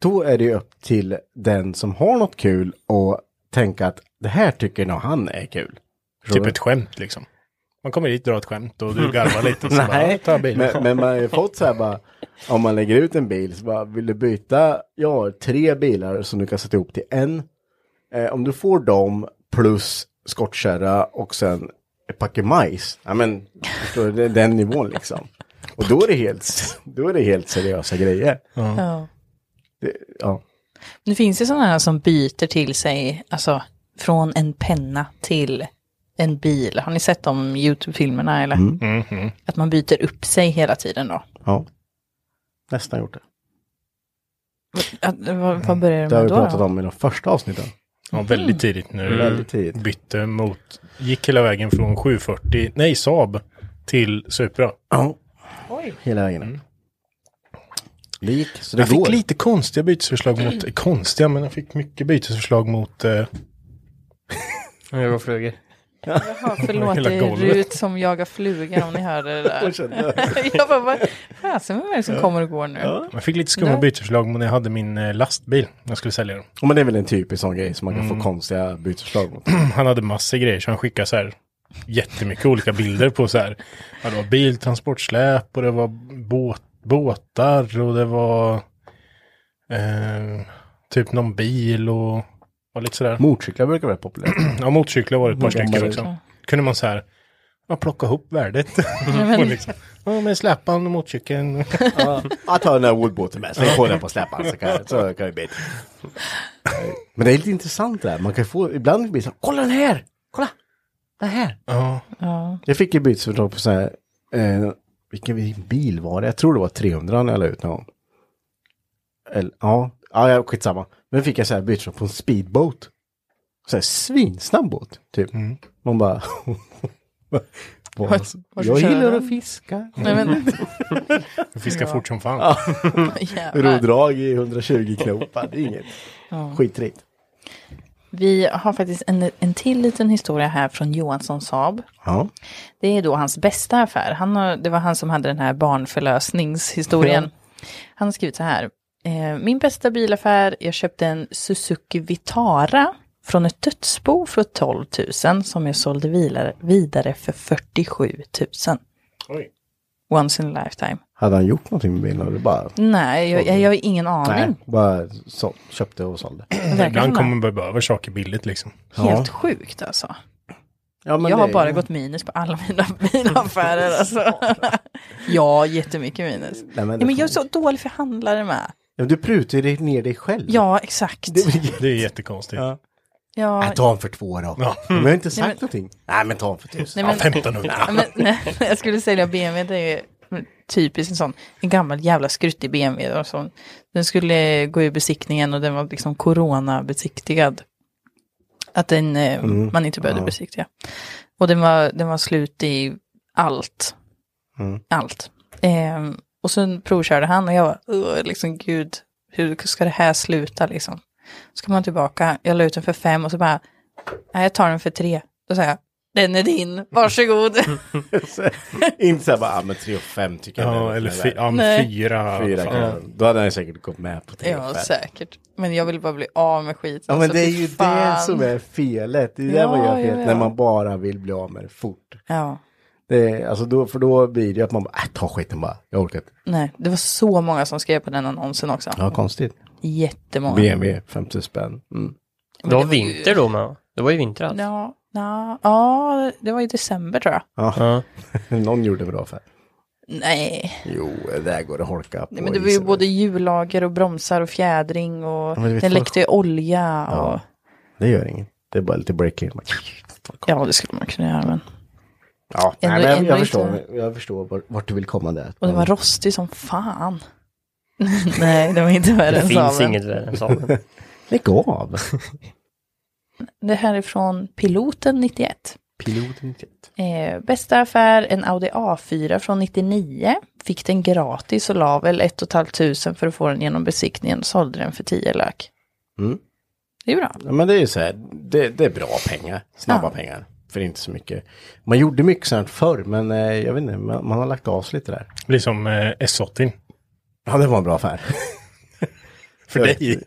B: då är det ju upp till den som har något kul och tänka att det här tycker nog han är kul. Förstår
D: Typ
B: du?
D: ett skämt liksom. Man kommer dit, drar ett skämt och du garvar lite. och Så bara,
B: Mm. Nej,
D: "Ja, ta bilen.
B: men, men man har ju fått så här bara, om man lägger ut en bil så bara, vill du byta, jag har tre bilar som du kan sätta ihop till en. Eh, om du får dem plus skottkärra och sen ett packe majs, ja men, förstår du, det är den nivån liksom. Och då är det helt, då är det helt seriösa grejer.
A: Ja.
B: Det, ja.
A: Det finns ju sådana här som byter till sig, alltså från en penna till en bil. Har ni sett de YouTube-filmerna eller?
B: Mm.
D: Mhm.
A: Att man byter upp sig hela tiden då.
B: ja. Nästan gjort det.
A: Att, vad, vad börjar
B: Det
A: det
B: har vi
A: med då?
B: pratat
A: då?
B: om i de första avsnitten.
D: Ja, väldigt tidigt nu.
B: Väldigt tidigt.
D: Bytte mot, gick hela vägen från 740, nej Saab, till Supra.
B: Ja. Hela vägen. Det gick, så det
D: Jag
B: går. Mm.
D: fick lite konstiga bytesförslag mot, konstiga, men jag fick mycket bytesförslag mot eh,
E: Nu går flyger.
A: Ja, förlåt,
D: Hela
A: det är
D: golvet.
A: Rut som jagar flugan om ni hör det där.
B: kände
A: jag bara, vad fasen vem är det som kommer och går nu?
D: Jag fick lite skumma
A: Där.
D: bytesförslag när jag hade min eh, lastbil. Jag skulle sälja den.
B: Ja, Men det är väl en typisk sån grej som man kan få konstiga bytesförslag mot.
D: Han hade massor grejer så han skickade så här jättemycket olika bilder på så här. Ja, det var biltransportsläp och det var båt, båtar och det var eh, typ någon bil och, och lite sådär.
B: Motorcyklar brukar vara populärt.
D: Ja, motorcyklar var det ett par stycken
B: Motorcyklar.
D: också. Kunde man så här. Man plockar ihop värdet. Och liksom, ja, men släpan och motorcykeln.
B: Ja, jag tar den här woodbåten med, sen får den på släpan så kan, jag- så kan jag bita. Men det är lite intressant det här, man kan få, ibland blir det så här, kolla den här, kolla, den här.
D: Ja,
A: Ja.
B: Jag fick ju bytesförslag på så här, eh, vilken bil var det? Jag tror det var 300 när jag la ut någon gång. Eller, ja, ja, ja, skitsamma. Men fick jag så här bytesförslag på en speedboat. Så här svinsnabb båt, typ. Man bara...
A: Vart- vart
B: jag
A: kör
B: gillar
A: den?
B: att fiska.
A: Nej, men,
D: du fiskar fort som fan.
A: jävlar.
B: Rodrag i 120 knopar, det är inget. Skitrigt.
A: Vi har faktiskt en, en till liten historia här från Johansson Saab.
B: Ja.
A: Det är då hans bästa affär. Han har, det var han som hade den här barnförlösningshistorien. Han har skrivit så här. Eh, min bästa bilaffär, jag köpte en Suzuki Vitara från ett dödsbo för 12 000 som jag sålde vidare, vidare för 47 000.
D: Oj.
A: Once in a lifetime.
B: Hade han gjort någonting med bilen? Eller bara,
A: Nej, jag, jag, jag har ingen
B: nej,
A: aning.
B: bara så, köpte och sålde.
A: Verkar
D: Ibland
A: som
D: kommer man behöva saker billigt liksom.
A: det. Helt sjukt alltså.
B: Ja, men
A: jag
B: det
A: har
B: är-
A: bara gått minus på alla mina bilaffärer. Alltså. ja, jättemycket minus.
B: Nej, men,
A: Nej, men jag är så dålig förhandlare med.
B: Ja, du prutar ju dig- ner dig själv.
A: Ja, exakt.
D: Det är jättekonstigt. Ja.
A: Ja,
B: Nej, ta en för två Äh, då.
D: Ja.
B: Men jag har inte sagt
A: men-
B: någonting. Nej, men ta en för tusen.
A: nej, men,
D: 1500.
A: ja, men, nej, jag skulle sälja BMW, det är ju typiskt en sån, en gammal jävla skruttig BMW. Och sån. Den skulle gå ur besiktningen och den var liksom coronabesiktigad. Att den, eh, man inte behövde besiktiga. Och den var, den var slut i allt. Mm. Allt. Eh, och sen provkörde han och jag var, "Åh, liksom gud, hur ska det här sluta liksom? Så kom han tillbaka, jag la ut den för fem och så bara, nej jag tar den för tre. Då sa jag, den är din, varsågod.
B: inte så här bara, ah, men tre och fem tycker jag.
D: Ja,
B: väl.
D: eller fy, ja,
A: Nej.
D: men fyra.
B: Fyra
D: fan.
B: kanske. Då hade han säkert gått med på tre
A: ja,
B: och fem.
A: säkert. Men jag vill bara bli av med skiten.
B: Ja, men
A: så
B: det är
A: fy
B: ju det
A: fan.
B: som är felet. Det är där
A: Ja,
B: man gör fel,
A: ja, ja.
B: när man bara vill bli av med det fort.
A: Ja,
B: Det är, alltså då, för då blir det ju att man bara, äh, ta skiten bara, jag orkar inte.
A: nej, det var så många som skrev på den annonsen också.
B: Ja, konstigt.
A: Jättemånga.
B: BMW, 50 spänn. Mm.
A: Men
E: Det var
A: det var ju-
E: vinter då med. Det var ju vinter alltså.
A: Ja, ja, ja, det var i december tror jag.
E: Ja.
B: Någon gjorde bra affär.
A: Nej,
B: Jo, det där går att holka på.
A: nej men det var ju
B: isen.
A: både hjullager och bromsar och fjädring och
B: men du vet,
A: den
B: folk-
A: läckte ju olja. Och...
B: Det gör inget. Det är bara lite breaking.
A: Ja, det skulle man kunna göra. Men...
B: Ja,
A: Ändå-
B: nej, men jag,
A: ändå
B: jag
A: inte.
B: förstår, jag förstår vart, vart du vill komma där.
A: Och det var rostig som fan. nej, det var inte värre
E: Det
A: än
E: finns
A: sabeln.
E: inget värre än sabeln.
B: Lägg av!
A: Det här är från piloten 91.
B: Piloten titt.
A: Eh, bästa affär, en Audi A4 från 99. Fick den gratis och la väl 1 500 för att få den genom besiktningen. Sålde den för 10 lök.
B: Mm.
A: Det är bra.
B: Ja, men det är ju så här, det, det är bra pengar. Snabba
A: Ja.
B: pengar. För inte så mycket. Man gjorde mycket sånt förr, men eh, jag vet inte, man, man har lagt av sig lite där.
D: Det blir som eh, S80.
B: Ja, det var en bra affär.
D: För dig.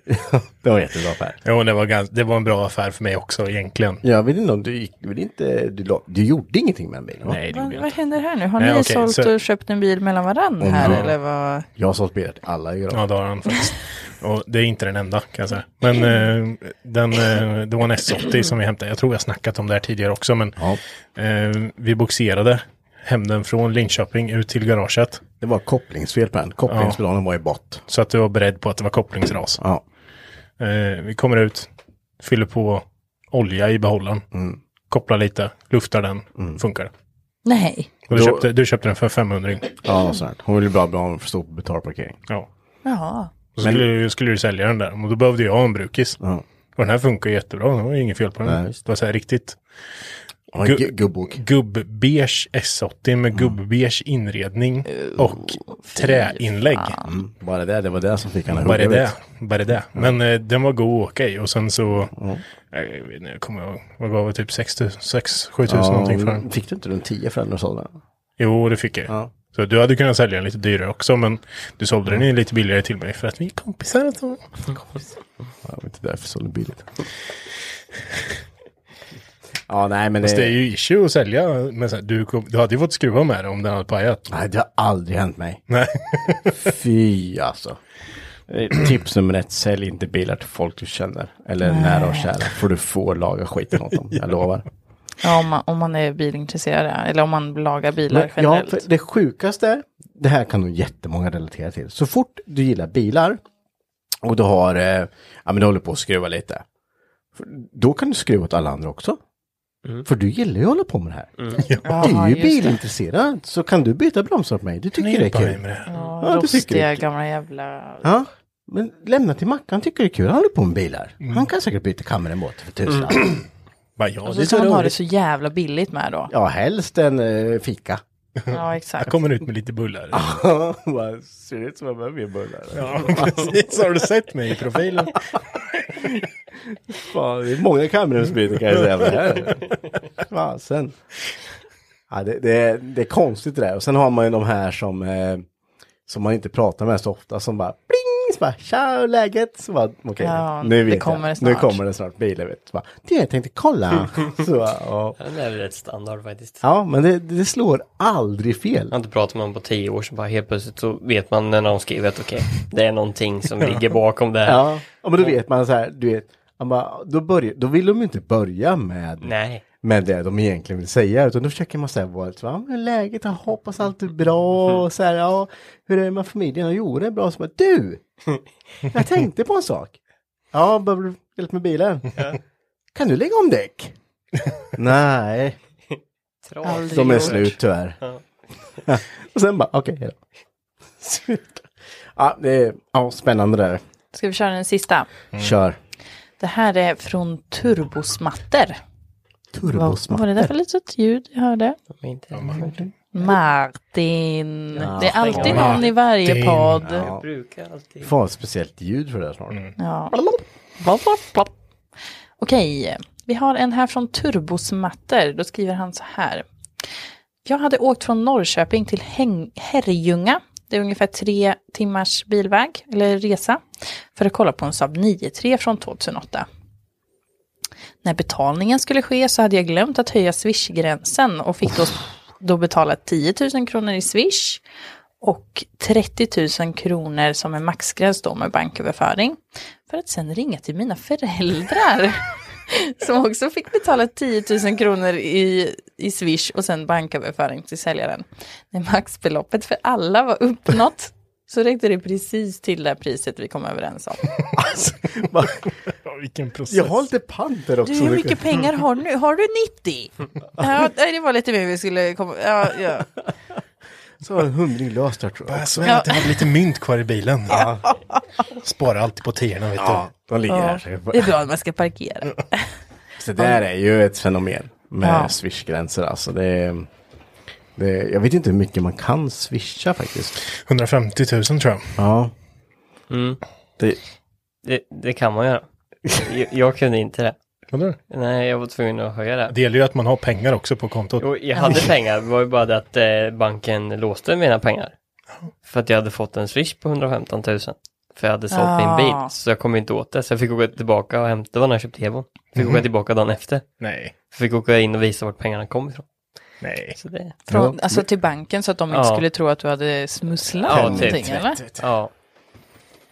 B: det var en jättebra affär.
D: Jo, det var, ganska, det var en bra affär för mig också egentligen.
B: Jag vet inte om du gick, väl inte, du, la- du gjorde ingenting med den bilen? va?
D: Nej, det
A: Vad,
D: gjorde jag
A: vad
D: inte.
A: händer här nu? Har
D: Nej,
A: ni
D: okej,
A: sålt
D: så-
A: och köpt en bil mellan varann här?
B: ja.
A: Eller vad?
B: Jag har sålt bilar till alla i
D: Ja,
B: ja.
D: det har han faktiskt. Och det är inte den enda kan jag säga. Men eh, den, eh, det var en S80 som vi hämtade. Jag tror jag har snackat om det här tidigare också. Men
B: ja.
D: eh, vi boxerade hem den från Linköping ut till garaget.
B: Det var kopplingsfel på den. Kopplingspedalen var i bott.
D: Så att du var beredd på att det var kopplingsras.
B: Ja.
D: Eh, vi kommer ut, fyller på olja i behållaren. Kopplar lite, luftar den, funkar.
A: Nej.
D: Och du,
B: Då-
D: köpte, du köpte den för 500
B: Ja, sånt. Hon ville bara bli av med för stor betalparkering.
D: Ja.
A: Jaha.
D: Och så skulle, du, skulle du sälja den där. Och då behövde jag en brukis.
B: Ja.
D: Och den här funkar ju jättebra. Det var ju inget fel på den.
B: Nej, just
D: det var så här riktigt
B: Ja,
D: Gu-
B: gu- gubbok.
D: gubb-beige S80
B: Mm.
D: med gubb-beige inredning
B: Eh,
D: och träinlägg.
B: Mm. Bara det, det var det som fick henne att
D: Bara
B: hugga, Mm, vet
D: det, bara det. Men eh, den var god att åka i och sen så, jag vet inte, jag kommer ihåg, vad gav jag, typ 6-7 tusen någonting för den?
B: Fick du inte runt 10 för den och sålde den?
D: Jo, det fick jag.
B: Ja. Mm.
D: Så du hade kunnat sälja den lite dyrare också, men du sålde den ju lite billigare till mig för att vi är kompisar. och så.
B: Jag vet inte därför sålde billigt. ja, nej men det...
D: Fast det är ju issue att sälja, men så här, du, kom, du hade ju fått skruva med det om den hade pajat.
B: Nej, det har aldrig hänt mig.
D: Nej.
B: Fy alltså. Eh, Tips nummer ett, sälj inte bilar till folk du känner. Eller nära och kära. För du får laga skiten åt dem, jag lovar.
A: Ja, om man, om man är bilintresserad, ja. eller om man lagar bilar
B: Men, ja,
A: generellt.
B: för det sjukaste är, det här kan nog jättemånga relatera till. Så fort du gillar bilar och du har, eh, ja men du håller på att skruva lite. för- Då kan du skruva åt alla andra också. För du gillar ju att hålla på med det här. Du
A: Jaha,
B: är ju
A: Mm. just det.
B: bilintresserad, så kan du byta bromsar på mig. Du tycker det är
D: hjälpa mig
B: kul.
D: med det här.
A: Ja,
B: Ja, det tycker
A: rostiga
B: jag.
A: gamla jävla...
B: Ja, men lämna till Mackan, han tycker det är kul. Han håller på med bilar. Han kan säkert byta kameramöte för tusan.
D: Bara, ja,
A: Och
D: det
A: Alltså, så
D: är
A: ska
D: så
A: man ha det
D: roligt.
A: så jävla billigt med då.
B: Ja, helst en eh, fika.
A: Ja, exakt.
D: Jag kommer ut med lite bullar.
B: Vad Ser det ut som att jag behöver mer bullar?
D: Ja, precis. Har du sett mig i profilen?
B: Fan, det är många kamerumsbyten kan jag säga. men det här är- Fasen. Ja, det, det, är- det är konstigt det där. Och sen har man ju de här som, eh, som man inte pratar med så ofta som bara pling, så bara tja, hur är läget? Så bara, okej,
A: Ja,
B: nu
A: det
B: vet
A: kommer
B: jag.
A: det
B: Nu
A: snart.
B: kommer det snart bilen. Vet. Så bara, du, jag tänkte kolla. så, bara, ja.
E: Den är väl rätt standard faktiskt.
B: ja, men det, det slår aldrig fel.
E: Jag har inte pratat med honom på tio år så bara helt plötsligt så vet man när någon skriver att okej, det är någonting som ligger bakom det här.
B: Ja, ja men då vet man så här, du vet, man bara, då, börjar, då vill de ju inte börja med
E: Nej.
B: med det de egentligen vill säga utan då försöker man säga vad va, men hur är läget, jag hoppas allt är bra och så här, ja, hur är det med familjen, och jo det är bra, så bara, du, jag tänkte på en sak, ja, behöver du hjälp med bilen, kan du lägga om däck? Nej,
A: Aldrig
B: de är
A: gjort.
B: slut tyvärr. och sen bara, okej, okay, Slut. Ja, det är ja, spännande där.
A: Ska vi köra den sista?
D: Mm.
B: Kör.
A: Det här är från turbosmatter. Vad var det där
B: Turbosmatter.
A: för litet ljud jag hörde?
E: De är inte
A: Martin. det är alltid någon i varje podd. Ja.
E: Jag brukar alltid.
B: Fan, speciellt ljud för det där snart.
D: Mm.
A: Plopp, plopp, plopp. Okej, vi har en här från turbosmatter. Då skriver han så här. Jag hade åkt från Norrköping till Häng- Herrljunga. Det är ungefär tre timmars bilväg, eller resa, för att kolla på en Saab 9-3 från 2008. När betalningen skulle ske så hade jag glömt att höja Swish-gränsen och fick då, då betala 10 000 kronor i Swish och 30 000 kronor som en maxgräns då med banköverföring. För att sen ringa till mina föräldrar som också fick betala 10 000 kronor i, i Swish och sen banköverföring till säljaren. När maxbeloppet för alla var uppnått så räckte det precis till det priset vi kom överens om.
D: Ja, vilken process.
B: Jag har lite panter också.
A: Du, hur mycket pengar har du nu? Har du 90? Ja, nej, det var lite mer vi skulle komma... Ja, ja.
B: Så var en hundring löst där tror jag.
D: Jag såg att jag hade lite mynt kvar i bilen. Ja. Sparar alltid på tiorna, vet du.
B: de ligger
A: Ja. Det är bra att man ska parkera.
B: Det där är ju ett fenomen med
A: Ja.
B: swishgränser alltså. Det är, det är, jag vet inte hur mycket man kan swisha faktiskt.
D: 150 000 tror jag.
B: Ja. Det,
E: Mm. Det, det kan man göra. Jag, jag kunde inte det.
D: Eller?
E: Nej, jag var tvungen att höja det.
D: Det gäller ju att man har pengar också på kontot.
E: Jo, jag hade pengar, det var ju bara det att eh, banken låste mina pengar. För att jag hade fått en swish på 115 000. För jag hade sålt
A: Ah.
E: min bil, så jag kom inte åt det. Så jag fick åka tillbaka och hämta vad när jag köpte Evon. Fick åka tillbaka dagen efter.
D: Nej,
E: Fick åka in och visa vart pengarna kom ifrån.
D: nej.
E: Så det,
A: Från, alltså till banken så att de inte
E: Ja.
A: skulle tro att du hade smusslat
E: Ja,
A: ja,
E: typ.
A: någonting eller?
E: ja.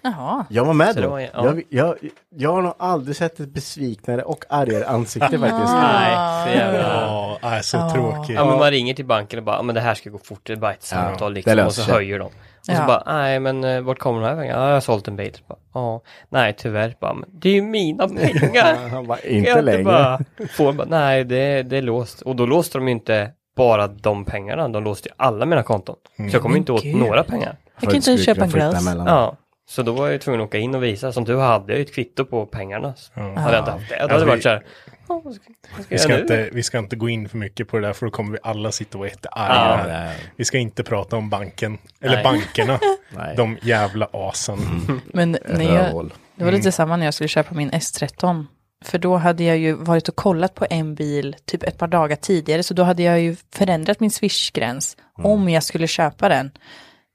A: Jaha.
B: jag var med
E: Så det
B: då.
E: var ju- ja.
B: jag, jag, jag har nog aldrig sett ett besviknare och argare
A: Ah.
B: ansikte faktiskt.
E: Nej, för jävla...
D: Ja, är så tråkigt.
E: Ja, men man ringer till banken och bara, "Ja, men det här ska gå fort, det är bara ett samtal
B: det
E: liksom. Och
B: löser
E: så
B: sig.
E: höjer de. Och
A: Ja.
E: så bara, nej men eh, vart kommer de här pengarna? Ja, jag har sålt en bil. Så bara, Ja, nej tyvärr. Bara, men det är ju mina pengar.
B: Han bara,
E: Kan jag
B: inte längre.
E: Bara, få, bara, nej, det, det är låst. Och då låste de ju inte bara de pengarna, de låste ju alla mina konton. Så
B: Mm.
E: jag kom inte åt
A: Gud.
E: några pengar.
A: Jag kan inte
B: Skulle
A: köpa en
B: kunna flytta
A: glass.
B: emellan.
E: Ja. Så då var jag ju tvungen att åka in och visa. Som du hade jag ju ett kvitto på pengarna. Hade jag inte haft det, då hade
B: Alltså,
E: det varit så här. "Ja, vad ska- vad ska
D: Vi
E: jag
D: ska,
E: göra nu?"
D: inte, vi ska inte gå in för mycket på det där för då kommer vi alla sitta och vara
E: Ja.
D: jättearga. Vi ska inte prata om banken, eller
E: Nej.
D: bankerna.
B: Nej.
D: De jävla asen.
E: Mm.
A: Men när jag,
B: Rövhål.
A: det var lite samma när jag skulle köpa min S13. För då hade jag ju varit och kollat på en bil typ ett par dagar tidigare. Så då hade jag ju förändrat min swishgräns om jag skulle köpa den.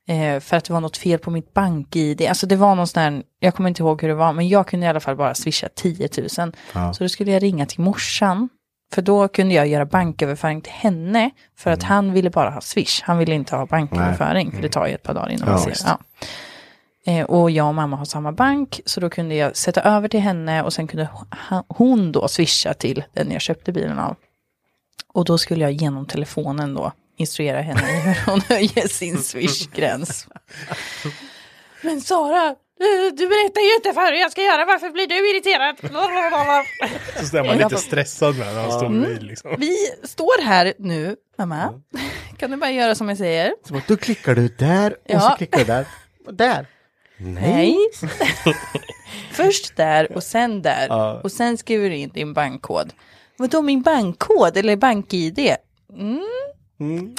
A: Eh, för att det var något fel på mitt bank-id. Alltså det var någon sån här, jag kommer inte ihåg hur det var, men jag kunde i alla fall bara swisha 10 000. Så då skulle jag ringa till morsan. För då kunde jag göra banköverföring till henne. För att han ville bara ha swish. Han ville inte ha banköverföring. För det tar ju ett par dagar innan man ser.
B: visst.
A: Ja. Eh, Och jag och mamma har samma bank, så då kunde jag sätta över till henne och sen kunde ho- ha- hon då swisha till den jag köpte bilen av. Och då skulle jag genom telefonen då instruera henne i hur hon höjer sin swish-gräns. Men Sara, du, du berättar ju inte för hur jag ska göra, varför blir du irriterad?
D: Så där man
A: Jag
D: lite
A: bara-
D: stressad med när han står vid liksom.
A: Vi står här nu, mamma. Kan du bara göra som jag säger?
B: Så bara, då klickar du där och så
A: Ja.
B: klickar du där. Och där.
A: Nej. Först där och sen där. Och sen skriver du in din bankkod. Vadå min bankkod eller bank-id? Mm.
B: Mm,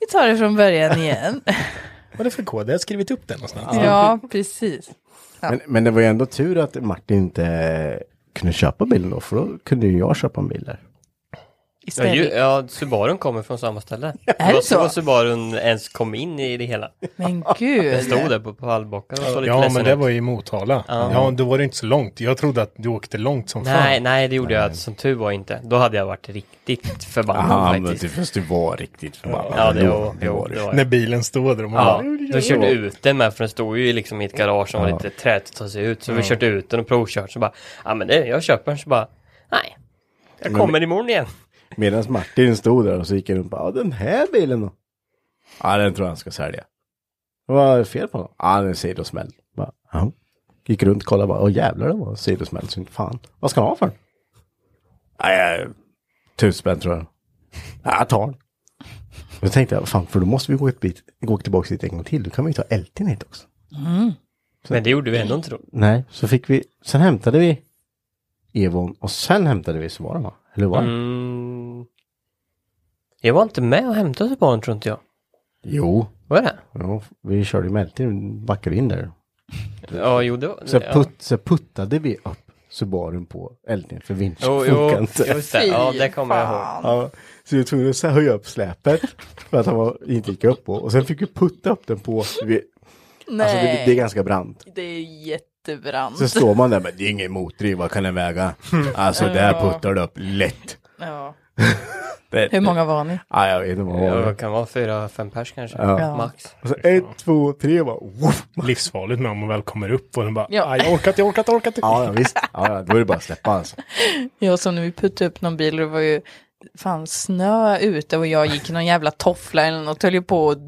A: Vi tar det från början igen.
D: Vad är det för kod? Jag har skrivit upp den någonstans.
A: ja, precis.
B: Men, men det var ju ändå tur att Martin inte kunde köpa bilen då, för då kunde ju jag köpa en bil där.
E: Ja,
A: Istället.
E: ju, ja, Subarun kommer från samma ställe.
A: Är det så?
E: Subarun ens kom in i det hela.
A: Men
E: Den
A: gud.
E: stod där på pallbockar och såg lite
D: Ja,
E: ledsen
D: men det
E: ut.
D: var ju i Motala. Ja. då var det inte så långt. Jag trodde att du åkte långt som
E: Nej,
D: fan.
E: nej, det gjorde jag som tur var inte. Då hade jag varit riktigt förbannad faktiskt.
B: fast du var riktigt förbannad.
E: Ja, det var, jo, det var jag.
D: När bilen stod där och man
E: Ja,
D: bara,
E: då körde ut den med för den stod ju liksom i ett garage som var lite träigt att ta sig ut. Så
A: Mm.
E: vi körde ut den och provkört så bara, ja men det, jag köper den så bara, nej, jag kommer imorgon igen.
B: Medan Martin stod där och så gick han runt och bara, "Ja, den här bilen då? Ja, den tror jag han ska sälja. Vad är det fel på den? Ja, den är sidosmäll. Bara, "Jaha." Gick runt och kollade bara, åh jävlar det var en sidosmäll, så inte fan. Vad ska han ha för den? Nej, tusen spänn tror jag. Ja, jag tar den. Då tänkte jag, fan, för då måste vi gå, ett bit, gå tillbaka dit en gång till. Då kan vi ju ta älten hit också.
E: Men det gjorde vi ändå inte då.
B: Nej, så fick vi, sen hämtade vi Evon och sen hämtade vi Svaren va? Eller var det?
E: Mm, jag var inte med och hämtade Subaru tror inte jag.
B: Jo,
E: Var det?
B: Ja, vi körde ju med älten, backade in där.
E: Ja, jo det var
B: typ. Så,
E: ja.
B: put, så puttade vi upp Subarun på ältningen för vinschen
E: Jo,
B: funkar
E: jo,
B: inte.
E: just det. Ja, det kommer jag ihåg.
B: Ja, så vi var tvungna att så här höja upp släpet för att han var, inte gick upp på. Och sen fick vi putta upp den på, vi,
A: Nej,
B: alltså det, det är ganska brant.
A: jättebrant.
B: Så står man där med, det är ingen motdriv, vad kan den väga? Alltså där puttar du upp lätt.
A: Ja.
B: Det,
A: Hur många var ni?
B: Ja, jag vet inte vad det
E: Ja,
B: var.
E: det kan vara fyra, fem pers kanske.
A: Ja.
E: Max.
B: Och så ett, två, tre bara, woof.
D: Livsfarligt med om man väl kommer upp och den bara,
A: Ja.
D: "Aj, jag orkar inte, jag orkar inte, jag orkar inte.
B: Ja, ja, visst. Ja, ja, då är det bara att släppa alltså.
A: Ja, som när vi puttade upp någon bil och det var ju fan snö ute och jag gick i någon jävla toffla eller något höll ju på att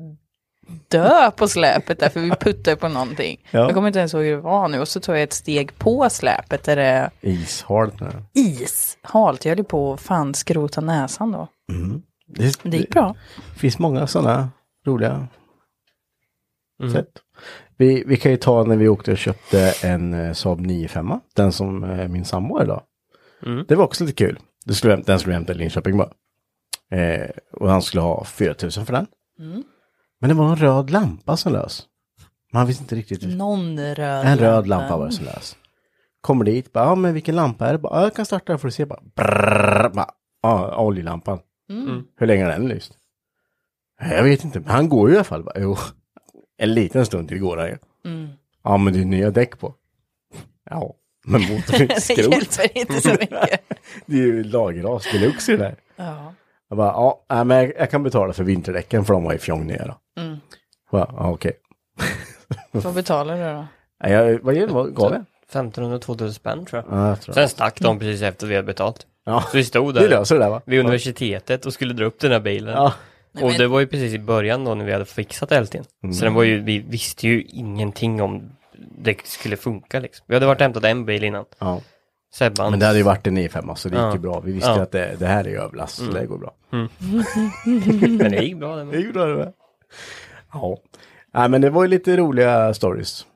A: dö på släpet där för vi puttade på någonting.
B: Ja.
A: Jag kommer inte ens ihåg hur det var nu och så tog jag ett steg på släpet där det är
B: Ishalt nu.
A: ishalt. Jag höll ju på att fan skrota näsan då. Men det gick bra.
B: finns många sådana roliga sätt. Vi, vi kan ju ta när vi åkte och köpte en eh, Saab 95, den som eh, min sambo har idag. Det var också lite kul. Det skulle, vi häm- den skulle vi hämta i Linköping bara. Eh, och han skulle ha 4000 för den. Men det var en röd lampa som lös. Man visste inte riktigt.
A: Någon röd
B: En röd lampa var det som lös. Kommer dit, bara, ja men vilken lampa är det? Bara, ja, jag kan starta den får du se. Bara, brrrr, bara, ja, oljelampan. Hur länge har den lyst? Jag vet inte, men han går ju i alla fall. Bara, jo, en liten stund till går han ju. Ja, men det är nya däck på. Ja, men motorn är
A: Det
B: skrot.
A: hjälper inte så mycket.
B: det är ju lagerras deluxe i det där.
A: Ja.
B: Jag bara, ja, nej, men jag, jag kan betala för vinterdäcken för de var ju fjongnya då.
A: Mm.
B: Jag bara, Ja, okej.
A: Vad betalar du då?
B: Nej, jag- Vad är det? Vad gav jag?
E: 1500-2000 spänn tror jag.
B: Ja, jag tror
E: Sen stack de precis efter vi hade betalt.
B: Ja.
E: Så vi stod
B: Vi
E: där
B: löser det där va?
E: vid universitetet och skulle dra upp den här bilen.
B: Ja.
E: Och det var ju precis i början då när vi hade fixat älten.
B: Mm.
E: Så den var ju, vi visste ju ingenting om det skulle funka liksom. Vi hade varit och hämtat en bil innan.
B: Ja.
E: Sebban.
B: Men det hade ju varit en E5 så det gick ju
E: Ja.
B: bra. Vi visste
E: Ja.
B: ju att det, det här är ju överlast så det går bra.
E: Men det gick bra. Mm. Det med.
B: gick bra det med. Ja. Nej men det var ju lite roliga stories.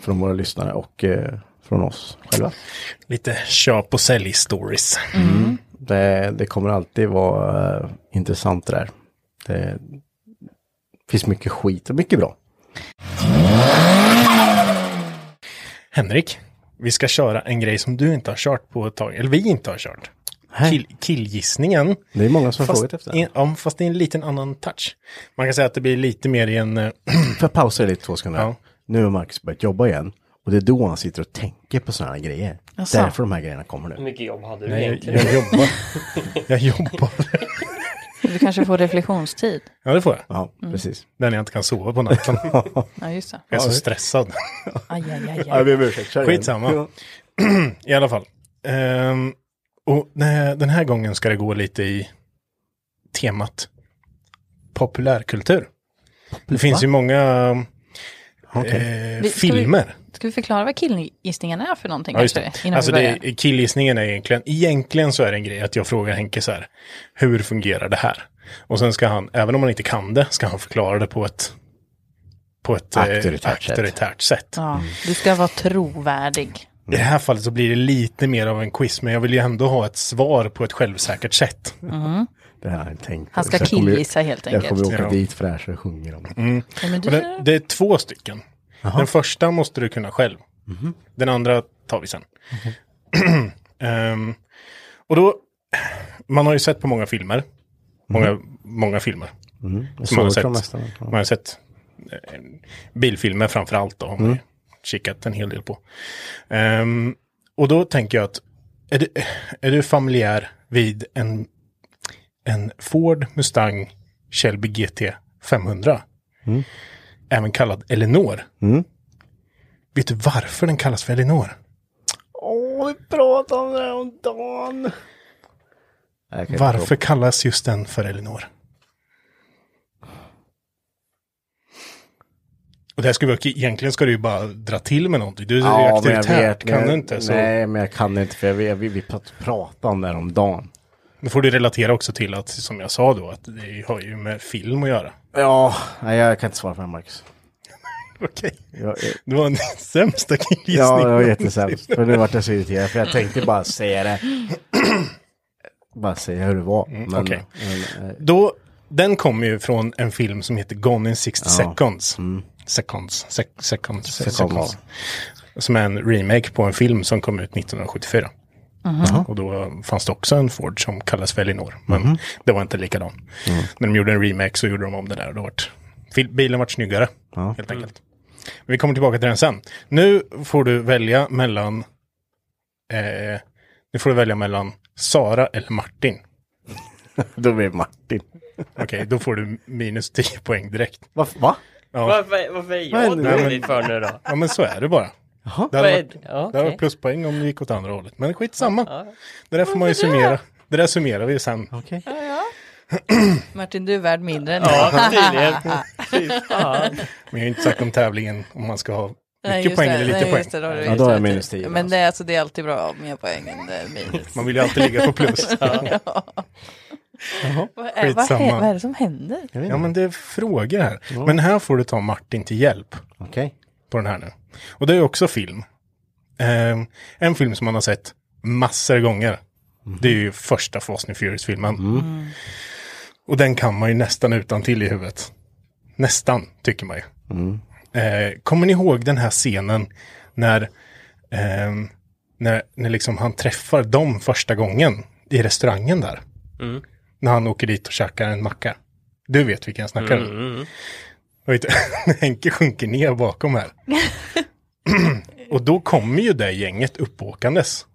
B: Från våra lyssnare och eh, från oss själva.
D: Lite köp och sälj-stories.
B: Det, det kommer alltid vara eh, intressant det där. Det finns mycket skit och mycket bra.
D: Henrik, vi ska köra en grej som du inte har kört på ett tag, eller vi inte har kört. Kill, killgissningen.
B: Det är många som har
D: Fast,
B: frågat efter
D: i-
B: det.
D: ja, fast det är en liten annan touch. Man kan säga att det blir lite mer i en... eh,
B: Får jag pausa dig lite två sekunder?
D: Ja.
B: Nu har Marcus börjat jobba igen. Och det är då han sitter och tänker på sådana här grejer. Därför de här grejerna kommer
E: Hur
B: nu.
E: mycket jobb hade du
D: Nej, jag,
E: egentligen?
D: jag jobbar. jag jobbar.
A: Du kanske får reflektionstid.
D: Ja, det får jag.
B: Ja, precis.
D: Den jag inte kan sova på natten. jag
A: Ja, just det.
D: är så stressad.
A: Aj, aj, aj,
B: Ja, jag
A: aj.
B: ber om ursäkt. Kör igen.
D: Skitsamma. I alla fall. Ehm, Och nej, den här gången ska det gå lite i temat populärkultur. Det finns ju många eh,
A: Vi- ska vi-
D: filmer.
A: Ska vi förklara vad killgissningen är för någonting?
D: Ja, just det.
A: kanske, innan
D: Alltså
A: vi börjar?
D: det, killgissningen är egentligen, egentligen så är det en grej att jag frågar Henke så här, hur fungerar det här? Och sen ska han, även om han inte kan det, ska han förklara det på ett på ett eh,
B: Auktoritärt sätt.
D: auktoritärt sätt.
A: Ja, du ska vara trovärdig.
D: I
B: Mm.
D: det här fallet så blir det lite mer av en quiz, men jag vill ju ändå ha ett svar på ett självsäkert sätt.
B: Det här har jag tänkt.
A: Han ska
B: Så jag kommer ju-
A: killgissa helt
B: Jag kommer
A: enkelt.
B: åka
D: Ja.
B: dit för det här så jag sjunger om det.
D: Mm,
A: Ja, men
D: Och
A: du,
D: det, det är två stycken. Den första måste du kunna själv.
B: Mhm.
D: Den andra tar vi sen. Ehm, och då, man har ju sett på många filmer. Många,
B: Mhm.
D: många filmer. Som man, har
B: Sorkan
D: sett,
B: nästan. Ja.
D: man har sett eh, bilfilmer framför allt. Då, har
B: Mm.
D: man ju kikat en hel del på. Ehm, och då tänker jag att, är du, är du familjär vid en, en Ford Mustang Shelby GT 500?
B: Mm.
D: Även kallad Elinor. Vet du varför den kallas för Elinor?
B: Åh, vi pratade om det här om dagen. Jag kan inte
D: Varför kallas just den för Elinor? Och det här ska vi, egentligen ska du ju bara dra till med någonting. Du är ju
B: Ja, men jag
D: auktoritär,
B: vet.
D: kan
B: men,
D: du inte? Så
B: Nej, men jag kan inte för jag, vet- vi, vi prat- pratade om det här om dagen.
D: Då får du relatera också till att, som jag sa då, att det har ju med film att göra.
B: Ja, nej, jag kan inte svara på det här, Marcus.
D: Okej.
B: Jag,
D: Det var den sämsta killgissningen.
B: ja, jag var jättesämst. För nu vart jag så irriterad för jag tänkte bara säga det. bara säga hur det var. Men,
D: Mm, okej.
B: men, eh,
D: Då, den kommer ju från en film som heter Gone in 60 seconds. Seconds, sec, seconds, seconds.
B: Seconds.
D: Som är en remake på en film som kom ut 1974. Och då fanns det också en Ford som kallas för Elinor. Men det var inte likadan. När de gjorde en remake så gjorde de om det där. Och då vart, fil- bilen vart snyggare, helt enkelt. Men vi kommer tillbaka till den sen. Nu får du välja mellan... Eh, nu får du välja mellan Sara eller Martin.
B: då blir det Martin.
D: Okej, då får du minus 10 poäng direkt.
B: Va? va?
E: Varför, varför är
B: Vad
E: jag
B: händer?
E: dålig för nu då?
D: Ja, men så är det bara. Det
E: Vad
D: hade
E: är
D: varit,
E: det? Ja,
D: det hade
E: okej.
D: varit pluspoäng om det gick åt andra hållet. Men skitsamma. Det där får man ju summera. Det där summerar vi sen.
B: Okej.
A: Martin, du är värd mindre än jag.
E: Ja, tydligen. Fy fan.
D: Men jag har inte sagt om tävlingen, om man ska ha
A: Nej,
D: mycket
A: just
D: poäng
A: det.
D: eller lite
A: Nej,
D: poäng.
A: just det, har du
B: Ja,
A: rätt
B: då har jag
A: i.
B: minus tio,
A: Men det, är alltså, det är alltid bra att ha mer poäng än eh, minus.
D: Man vill ju alltid ligga på plus.
A: Vad är, vad,
D: skitsamma.
A: hä- vad är det som händer?
D: Ja, men det är frågor här. Men här får du ta Martin till hjälp
B: Okej.
D: på den här nu. Och det är också film. Eh, en film som man har sett massor gånger. Det är ju första Fast and Furious-filmen. Och den kan man ju nästan utan till i huvudet. Nästan, tycker man ju. Eh, kommer ni ihåg den här scenen när, ehm, när, när liksom han träffar dem första gången i restaurangen där? När han åker dit och käkar en macka. Du vet vilken jag snackar om. Jag vet, Henke sjunker ner bakom här. och då kommer ju det gänget uppåkandes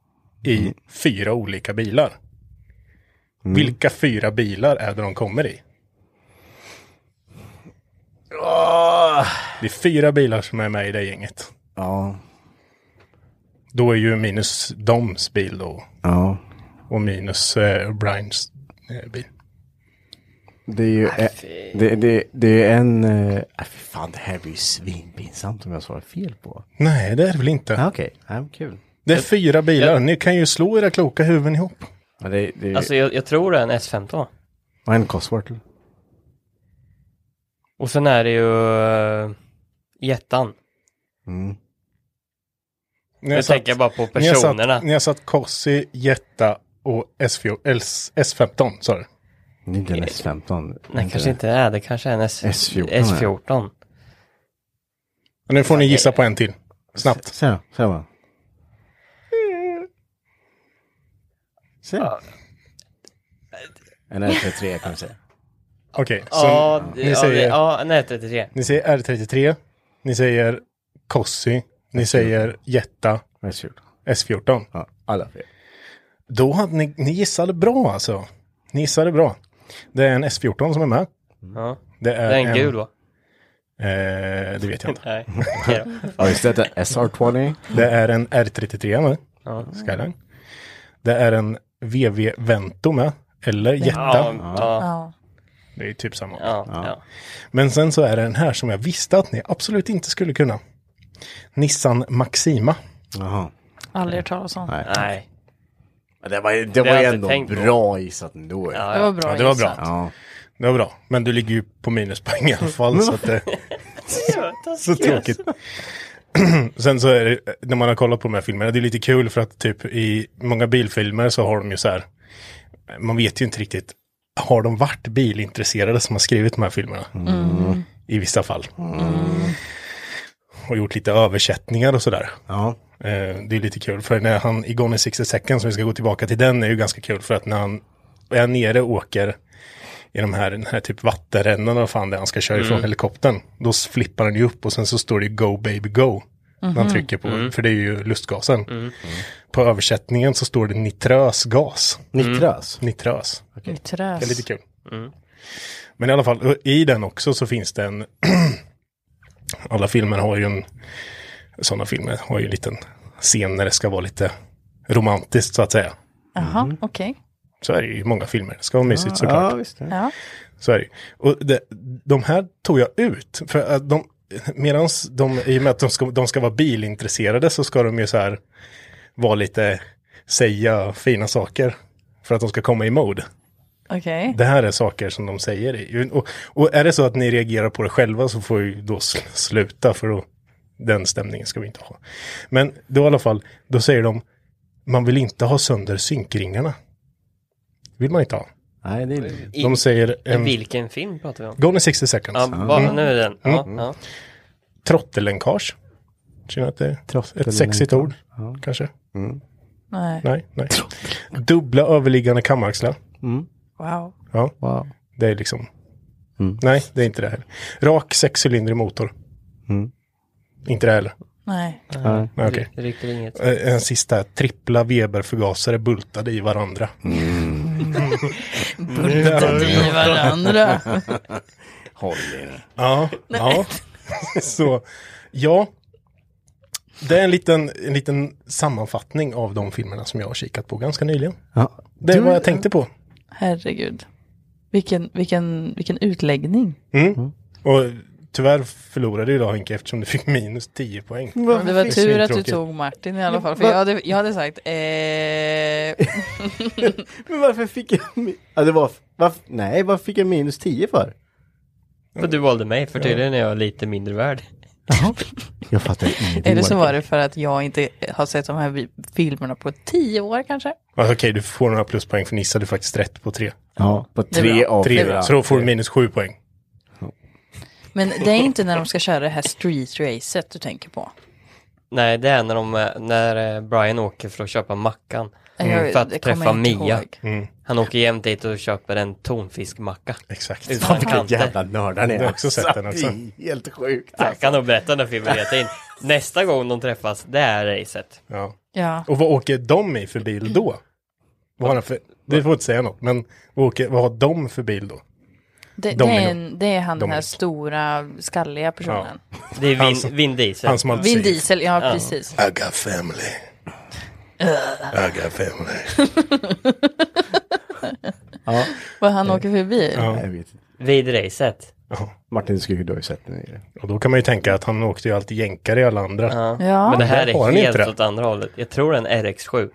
D: i
B: Mm.
D: fyra olika bilar. Vilka fyra bilar är det de kommer i?
B: Åh!
D: Det är fyra bilar som är med i det gänget.
B: Ja,
D: Då är ju minus Doms bil då
B: ja.
D: och minus eh, Brians eh, bil.
B: Det är ju eh, det, det, det är en... eh, ah, fy fan, det här blir ju svinpinsamt om jag svarar fel på.
D: Nej, det är det väl inte.
B: Ja, Okej, okay. kul.
D: Det är fyra bilar. Ni kan ju slå era kloka huvuden ihop.
B: Ja, det, det är ju...
E: Alltså jag, jag tror det är en S15.
B: och en Cosworth.
E: Och sen är det ju uh, Jättan.
B: Mm.
D: Ni har
E: Jag
D: satt-
E: tänker bara på
D: ni har satt-
E: personerna.
D: Ni har satt Kossi, Jetta och S4, S, S15, sa du?
B: Det är inte en S15.
E: Nej, kanske inte det är. Det kanske är en S-
B: S14, ja.
E: S14.
D: Och Nu får ni gissa på en till. Snabbt.
B: Se, se bara. Se. En R33 kan vi säga.
D: Okej, så
E: Ja, det-
D: ni
E: ja, det-
D: säger,
E: ja, nej, 33.
D: ni säger R33, ni säger Kossi, ni säger Jetta,
B: S14.
D: S14.
B: Ja, alla fel.
D: Då hade ni, ni gissade bra alltså. Ni gissade bra. Det är en S14 som är med.
E: Ja.
D: Det är,
E: Det är en gul va?
D: Eh, det vet jag inte.
E: Nej. Okej då.
B: Ja, just det. SR20.
D: Det är en R33 med.
E: Ja.
D: Skyline. Det är en VV Vento med. Eller Jetta.
E: Ja, ja,
A: Ja.
D: Det är ju typ samma.
E: ja, ja.
D: Men sen så är det den här som jag visste att ni absolut inte skulle kunna. Nissan Maxima.
B: Jaha.
A: Aldrig hört talas om.
E: Nej.
B: Ja, Det var, ju- det
E: har
B: var ju
E: jag inte
B: ändå
E: tänkt på.
B: bra gissat ändå. Ja.
A: Det var bra
D: Ja, det var
A: gissat.
D: bra.
B: Ja.
D: Det var bra. Men du ligger ju på minuspoäng i alla fall. så att det... Så tråkigt. Sen så är det, när man har kollat på de här filmerna, det är lite kul för att typ i många bilfilmer så har de ju så här, man vet ju inte riktigt, har de varit bilintresserade som har skrivit de här filmerna? I vissa fall. Och gjort lite översättningar och sådär.
B: Ja.
D: Eh, det är lite kul för när han i Gone in 60 seconds, som vi ska gå tillbaka till den, är ju ganska kul för att när han är nere och åker i de här, den här typ vattenrännan eller vad fan det är han ska köra ifrån helikoptern, då s- flippar han ju upp och sen så står det ju Go baby go. När han trycker på, för det är ju lustgasen. På översättningen så står det nitrösgas.
B: Nitras.
D: Nitrös.
A: Mitt träs.
D: Det är lite kul. Men i alla fall, i den också så finns det en... alla filmer har ju en... Sådana filmer har ju en liten scen när det ska vara lite romantiskt så att säga. Mm.
A: Jaha, okej.
D: Så är det ju i många filmer. Det ska vara mysigt såklart.
B: Ja, visst.
A: Ja.
D: Så är det. ju. Och det, de här tog jag ut. För att de, medans de, i och med att de ska, de ska vara bilintresserade så ska de ju så här vara lite, säga fina saker. För att de ska komma i mode.
A: Okej.
D: Det här är saker som de säger. i- Och, och är det så att ni reagerar på det själva så får vi då sl- sluta för då, den stämningen ska vi inte ha. Men då i alla fall, då säger de man vill inte ha sönder synkringarna. vill man inte ha.
B: Nej, det är lugnt.
E: I,
D: De säger en...
E: Vilken film pratar vi om?
D: Gone in 60 seconds.
E: Ja,
D: Ja.
E: va, nu är den. Ja,
D: Mm.
E: ja.
D: Trottelänkage. Känner att det är ett sexigt ord? Kanske?
A: Nej.
D: Nej, nej. Dubbla överliggande kamaxlar.
A: Wow.
D: Ja,
B: Wow.
D: det är liksom...
B: Mm.
D: Nej, det är inte det heller. Rak sexcylindrig motor.
B: Mm.
D: Inte det heller.
A: Nej.
D: Nej, okej.
E: Det rycker inget.
D: Eh, En sista, trippla Weber-förgasare bultade i varandra.
A: Bultade i varandra.
B: Håll i det.
D: Ja, ja. Så, ja. Det är en liten, en liten sammanfattning av de filmerna som jag har kikat på ganska nyligen.
B: Ja.
D: Det är vad jag tänkte på.
A: Herregud. Vilken, vilken, vilken utläggning.
D: Och tyvärr förlorade ju idag Henke eftersom du fick minus 10 poäng.
A: Det var tur att du
D: Tråkigt.
A: tog Martin i alla fall. För jag hade, jag hade sagt eh,
B: Men varför fick jag... mi- Ja, det var... Varför... Nej, varför fick jag minus 10 för?
E: För du valde mig, för tydligen är jag lite mindre värd.
B: Jag fattar ingenting.
A: Eller så var det för att jag inte har sett de här vi- filmerna på tio år kanske.
D: Ja, Alltså, Okej, du får några pluspoäng för Nissa hade faktiskt rätt på tre.
B: Ja, på
A: är
B: tre
A: bra.
B: av
D: tre
B: fyra.
D: så då får du minus sju poäng.
A: Men det är inte när de ska köra det här streetracet du tänker på.
E: Nej, det är när, de, eh, när eh, Brian åker för att köpa mackan.
A: Jag-
E: Mm, För att
A: det kommer
E: träffa
A: jag inte
E: Mia.
A: ihåg.
E: Han åker jämt dit och köper en tonfiskmacka.
D: Exakt.
E: Utan
B: Vilka
E: kanter.
B: jävla nördar ni
D: Jag har också sett den också.
B: Det är helt sjukt. alltså.
E: Jag kan nog berätta när filmen heter in. Nästa gång de träffas, det är racet.
D: Ja.
E: Mm.
A: Ja.
D: Och vad åker de i för bil då? Vad har de för, du får inte säga något, men vad, åker, vad har de för bil då?
A: Det, det,
D: Domino.
A: är en, det är han den här
D: Dominic.
A: stora skalliga personen.
E: Det är
D: Han som-
E: Vin, Vin Diesel.
D: Han som alltid
A: Vin
D: säger,
A: Diesel, ja precis.
D: I got family. I got family.
A: Vad han åker förbi.
B: Nej, jag vet inte.
E: Vid racet.
B: Martin Skryd har ju sett den. i det.
D: Och då kan man ju tänka att han åkte ju alltid jänkare i alla andra. Ja.
A: Ja.
E: Men det
D: Har
E: här är
D: han inte
E: helt
D: det?
E: åt andra hållet. Jag tror en RX7.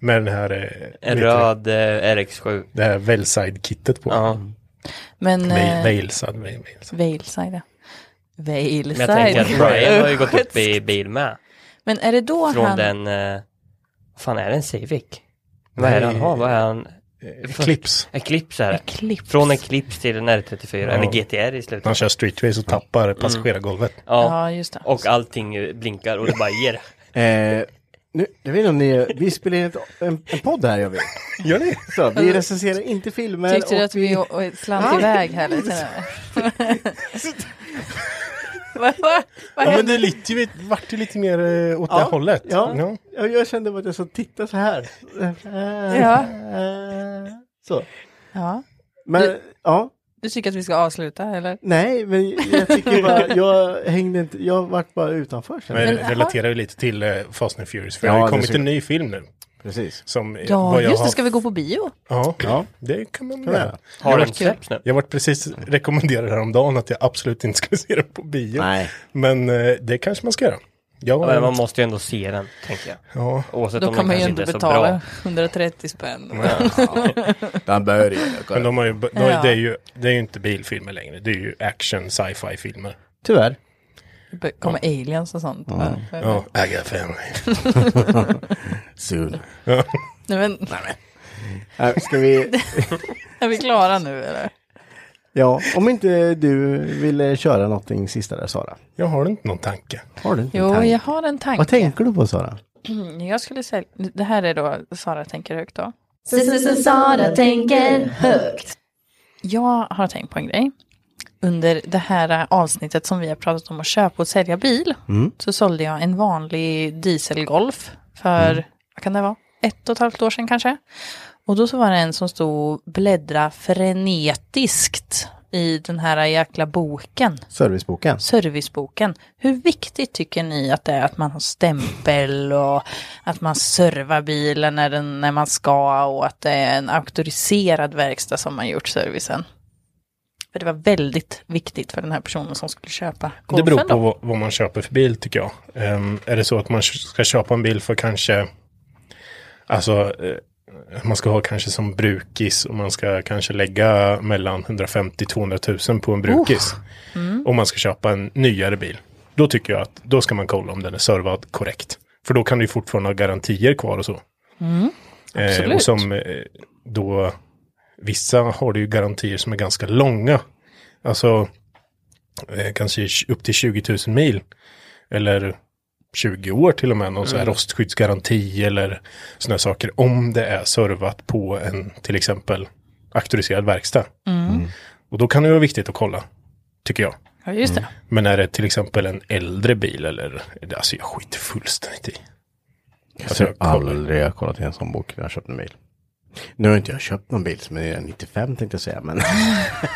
D: Med den här, eh,
E: En
D: vet du,
E: röd eh, RX7.
D: det här Velside-kittet på.
E: Ja.
A: Men...
D: Ve-
A: eh,
D: Valeside, Ve- Valeside.
A: Veilside, ja.
E: Men jag tänker att
A: Veilside.
E: Brian har ju gått upp i bil med.
A: Men är det då
E: Från
A: han...
E: den... Eh, vad fan är det en Civic? Vad är det han har? Vad är han?
D: Eh, Clips.
E: Eclipse är det.
A: Eclipse.
E: Från Eclipse till en R34. Eller GTR i
D: Han
E: slutet.
D: kör streetrace och
E: Mm.
D: tappar passagerargolvet.
E: Ja.
A: Ja, just det.
E: Och allting eh, blinkar och det bara ger.
B: Eh, nu, jag vet inte om ni... Vi spelar in ett, en, en podd här, gör vi.
D: Gör ni?
B: Så, vi recenserar inte filmer.
A: Mm. Tyckte du
B: och
A: att vi å- å- slant iväg här lite nu? Vad va, va
D: Ja, men
A: hände?
D: det är lite, ju- vart ju lite mer eh, åt det hållet.
B: Ja. Ja, jag kände bara att jag så titta så här.
A: Ja.
B: Så.
A: Ja.
B: Men, ja.
A: Du tycker att vi ska avsluta, eller?
B: Nej, men jag tycker bara, jag hängde inte, jag vart bara utanför. kände
D: Men
B: jag.
D: det relaterar ju lite till eh, Fast and Furious. För det
B: Ja,
D: har ju
B: det
D: kommit
B: ser-
D: en ny film nu.
B: Precis.
D: Som eh,
A: Ja,
D: vad jag
A: just
D: har-
A: det. Ska vi gå på bio?
D: Ja,
B: Ja.
D: det kan man
B: Kan man
D: göra.
B: göra.
E: Har
D: Jag
E: den
D: vart-
E: släppts nu?
D: Jag vart precis rekommenderad häromdagen att jag absolut inte skulle se den på bio.
B: Nej.
D: Men eh, det kanske man ska göra.
E: Ja,
D: Jag,
E: men man måste ju ändå se den, tänker jag.
D: ja,
E: Oavsett
A: Då
E: om
A: kan
E: den
A: man ju
E: kanske
A: ändå
E: inte är så bra.
A: betala 130 spänn.
B: Den
D: men
B: börjar.
D: de har ju, de har, ju-
A: Ja.
D: det, är ju, det är ju inte bilfilmer längre. Det är ju action sci-fi filmer.
B: Tyvärr.
A: Det kommer aliens och sånt.
D: Ja, I got family.
B: Soon.
A: Nej, men,
B: Äh, Ska vi...
A: är vi klara nu eller?
B: Ja, om inte du ville köra någonting sista där Sara.
D: Jag har inte någon tanke.
B: Har du inte en
A: Jo,
B: tanke?
A: jag har en tanke.
B: Vad tänker du på Sara?
A: Jag skulle säga, det här är då Sara tänker högt då.
F: Sara tänker högt.
A: Jag har tänkt på en grej. Under det här avsnittet som vi har pratat om att köpa och sälja bil så sålde jag en vanlig dieselgolf för, vad kan det vara, ett och ett halvt år sedan kanske. Och då så var det en som stod och bläddra frenetiskt i den här jäkla boken,
B: Serviceboken?
A: serviceboken. Hur viktigt tycker ni att det är att man har stämpel och att man servar bilen när, den, när man ska och att det är en auktoriserad verkstad som har gjort servicen? För det var väldigt viktigt för den här personen som skulle köpa
D: Det
A: golfen
D: beror på
A: då.
D: vad, vad man köper för bil tycker jag. Ehm, är det så att man ska köpa en bil för kanske, alltså eh, man ska ha kanske som brukis och man ska kanske lägga mellan 150-200 000 på en brukis. Om man ska köpa en nyare bil. Då tycker jag att då ska man kolla om den är servad korrekt. För då kan du ju fortfarande ha garantier kvar och så. Eh,
A: absolut.
D: och som eh, då, vissa har det ju garantier som är ganska långa. Alltså eh, kanske tj- upp till 20 000 mil. Eller 20 år till och med, någon sån här rostskyddsgaranti eller sådana saker. Om det är servat på en till exempel auktoriserad verkstad. Och då kan det vara viktigt att kolla, tycker jag.
A: Ja, just det.
D: Men är det till exempel en äldre bil eller, alltså jag skiter fullständigt i. Alltså, jag kollar.
B: aldrig har kollat i en sån bok när jag köpt en bil. Nu har inte jag köpt någon bil som är 95 tänkte jag säga, men...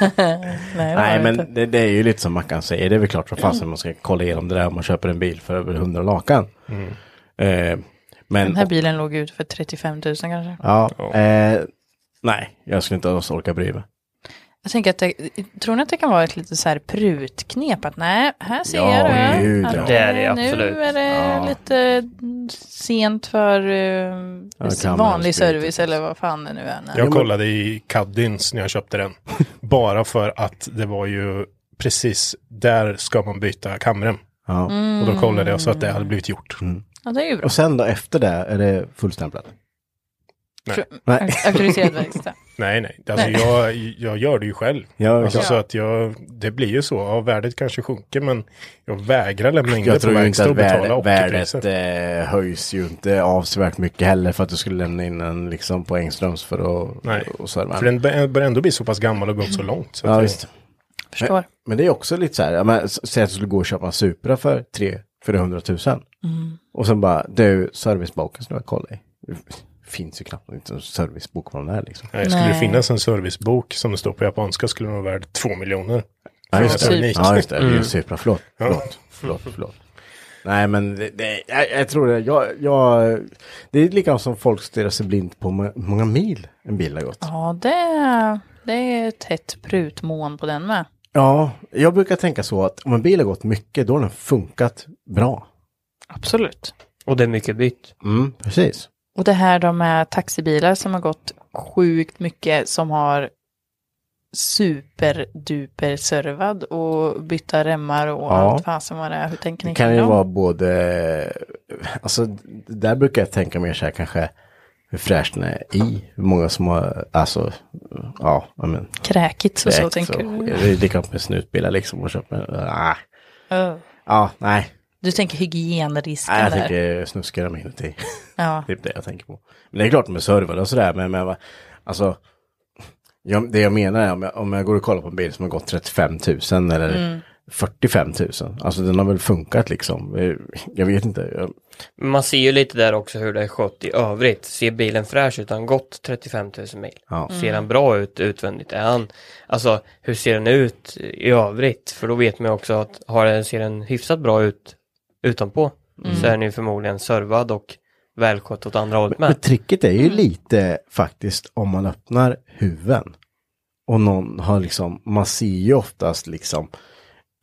A: Nej, det var
B: Nej,
A: det inte.
B: men det, det är ju lite som Mackan säger, det är väl klart som fasen man ska kolla igenom det där om man köper en bil för över 100 lakan. Eh, men...
A: Den här bilen låg ut för 35 000 kanske.
B: Ja, eh, nej, jag skulle inte alls orka bry mig.
A: Jag tänker att det, tror ni att det kan vara ett lite så här prutknep att nej, här ser
B: Ja,
A: du
B: gud,
A: att
B: ja.
E: Det är det, absolut.
A: nu är det
B: Ja.
A: lite sent för eh,
B: kan man
A: vanlig
B: sprita.
A: service eller vad fan det nu är. Nej.
D: Jag kollade i Caddins när jag köpte den. Bara för att det var ju precis där ska man byta kamren.
B: Ja. Mm.
D: Och då kollade jag så att det hade blivit gjort.
A: Ja, det är ju bra.
B: Och sen då efter det är det fullstämplat? Nej.
A: Auk- Auktoriserad verkstad.
D: Nej, nej. Alltså, jag, jag gör det ju själv.
B: Ja,
D: Alltså,
B: ja.
D: så att jag, det blir ju så. Ja, värdet kanske sjunker men jag vägrar lämna in
B: Jag
D: det på
B: tror ju inte
D: verkstad
B: att
D: och betala
B: värdet, värdet
D: ockerpriset.
B: eh, höjs ju inte avsevärt mycket heller för att du skulle lämna in en liksom på Engströms för att
D: Nej,
B: och serva.
D: För den bör- börjar ändå bli så pass gammal och gått så långt. Så att
B: Ja,
D: jag-
B: visst.
A: Förstår.
B: Men det är också lite så här, ja, men, s- säg att du skulle gå och köpa en Supra för 3 400 000. Och sen bara, du, serviceboken som jag kollade i. Det finns ju knappt inte en servicebok på den här liksom.
D: Nej, skulle det
A: Nej.
D: finnas en servicebok som det står på japanska skulle den vara värd två miljoner.
B: Ja, just
A: Ja,
B: det.
A: typ.
B: Ja, just det. Det är ju Supra. Förlåt. Förlåt. Förlåt. Förlåt. Nej, men det, det, jag, jag tror det. Jag, jag, det är likadant som folk stirrar sig blint på hur många mil en bil har gått.
A: Ja, det, det är ett hett prutmån på den med.
B: Ja, jag brukar tänka så att om en bil har gått mycket, då har den funkat bra.
A: Absolut.
E: Och det är mycket bytt.
B: Mm, precis.
A: Och det här de med taxibilar som har gått sjukt mycket som har superduper servad och bytta remmar och
B: Ja.
A: allt fasen vad det är. Hur tänker
B: Det
A: ni
B: kan
A: kring
B: ju
A: dem?
B: vara både, alltså d- där brukar jag tänka mer så här kanske hur fräsch den är i, hur många som har, alltså, ja, ja, men.
A: Kräkigt så, så
B: direkt
A: tänker du.
B: Det är likadant med snutbilar liksom och köper, ah,
A: Ja.
B: ja, nej,
A: Du tänker hygienrisken
B: Nej, jag
A: där.
B: tänker snuskigare med inuti.
A: Ja.
B: det är det jag tänker på. Men det är klart med servrar och sådär, men, men vad- alltså. Jag, det jag menar är om jag, om jag går och kollar på en bil som har gått 35 000 eller 45 000. Alltså den har väl funkat liksom. Eh, Jag vet inte. Jag,
E: Men Man ser ju lite där också hur det är skött i övrigt. Ser bilen fräsch ut? Har han gått 35 000 mil?
B: ja.
A: Mm.
E: Ser han bra ut utvändigt? Är han, alltså hur ser den ut i övrigt? För då vet man ju också att
A: Mm.
E: har den, ser den hyfsat bra ut utanpå så är den ju förmodligen servad och välskött åt andra hållet
B: Men,
E: med.
B: tricket är ju lite faktiskt om man öppnar huven. Och någon har liksom, man ser ju oftast liksom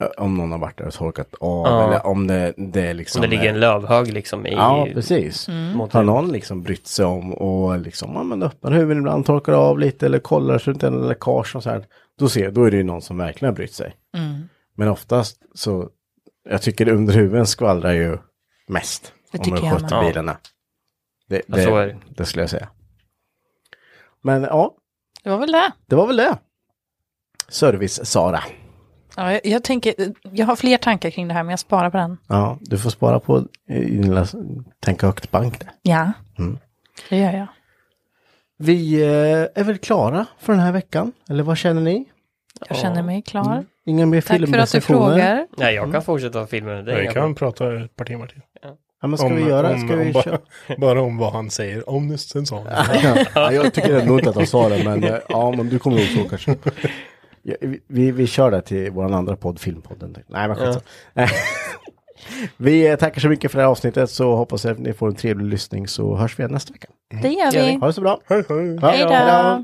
B: ö, om någon har varit där och torkat av
E: Ja.
B: eller om det, det är
E: Om
B: liksom.
E: det ligger en lövhög liksom i...
B: Ja, precis.
E: mot
B: Har någon liksom brytt sig om och liksom, ja men öppnar huven ibland, torkar av lite eller kollar så det inte är någon läckage och så här. Då ser då är det ju någon som verkligen har brytt sig.
A: Mm.
B: Men oftast så, jag tycker under huven skvallrar ju mest.
A: Det
B: om
A: tycker
B: de
A: jag med.
B: sköter bilarna. Det,
E: Ja,
B: det,
E: så är det.
B: det. skulle jag säga. Men ja,
A: Det var väl det.
B: det var väl det. Service-Sara.
A: Ja, jag, jag, tänker, jag har fler tankar kring det här men jag sparar på den.
B: Ja, du får spara på eh, i din lilla tänka högt-bank där.
A: Ja,
B: Mm.
A: det gör jag.
B: Vi eh, är väl klara för den här veckan, eller vad känner ni?
A: Jag känner mig klar.
B: Inga mer
A: Tack för att du
B: Mm. filmrecensioner? Mm.
A: frågar.
E: Nej, jag kan fortsätta filmen. Det är
D: Vi
E: inga
D: kan
E: problem.
D: prata ett par timmar till.
B: Ja, men ska vi göra?
D: om,
B: Ska vi
D: om
B: köra?
D: bara, bara om vad han säger om Nussen sa han.
B: ja, jag tycker ändå inte att de sa det, men eh, ja, men du kommer ihåg så kanske. Ja, vi- vi, vi kör det till vår andra podd, Filmpodden. Nej, men skitsamma. Vi eh, tackar så mycket för det här avsnittet, så hoppas jag att ni får en trevlig lyssning, så hörs vi igen nästa vecka.
A: Det gör vi.
B: Ha det så bra!
D: Hej, hej.
B: Ja,
A: Hej då.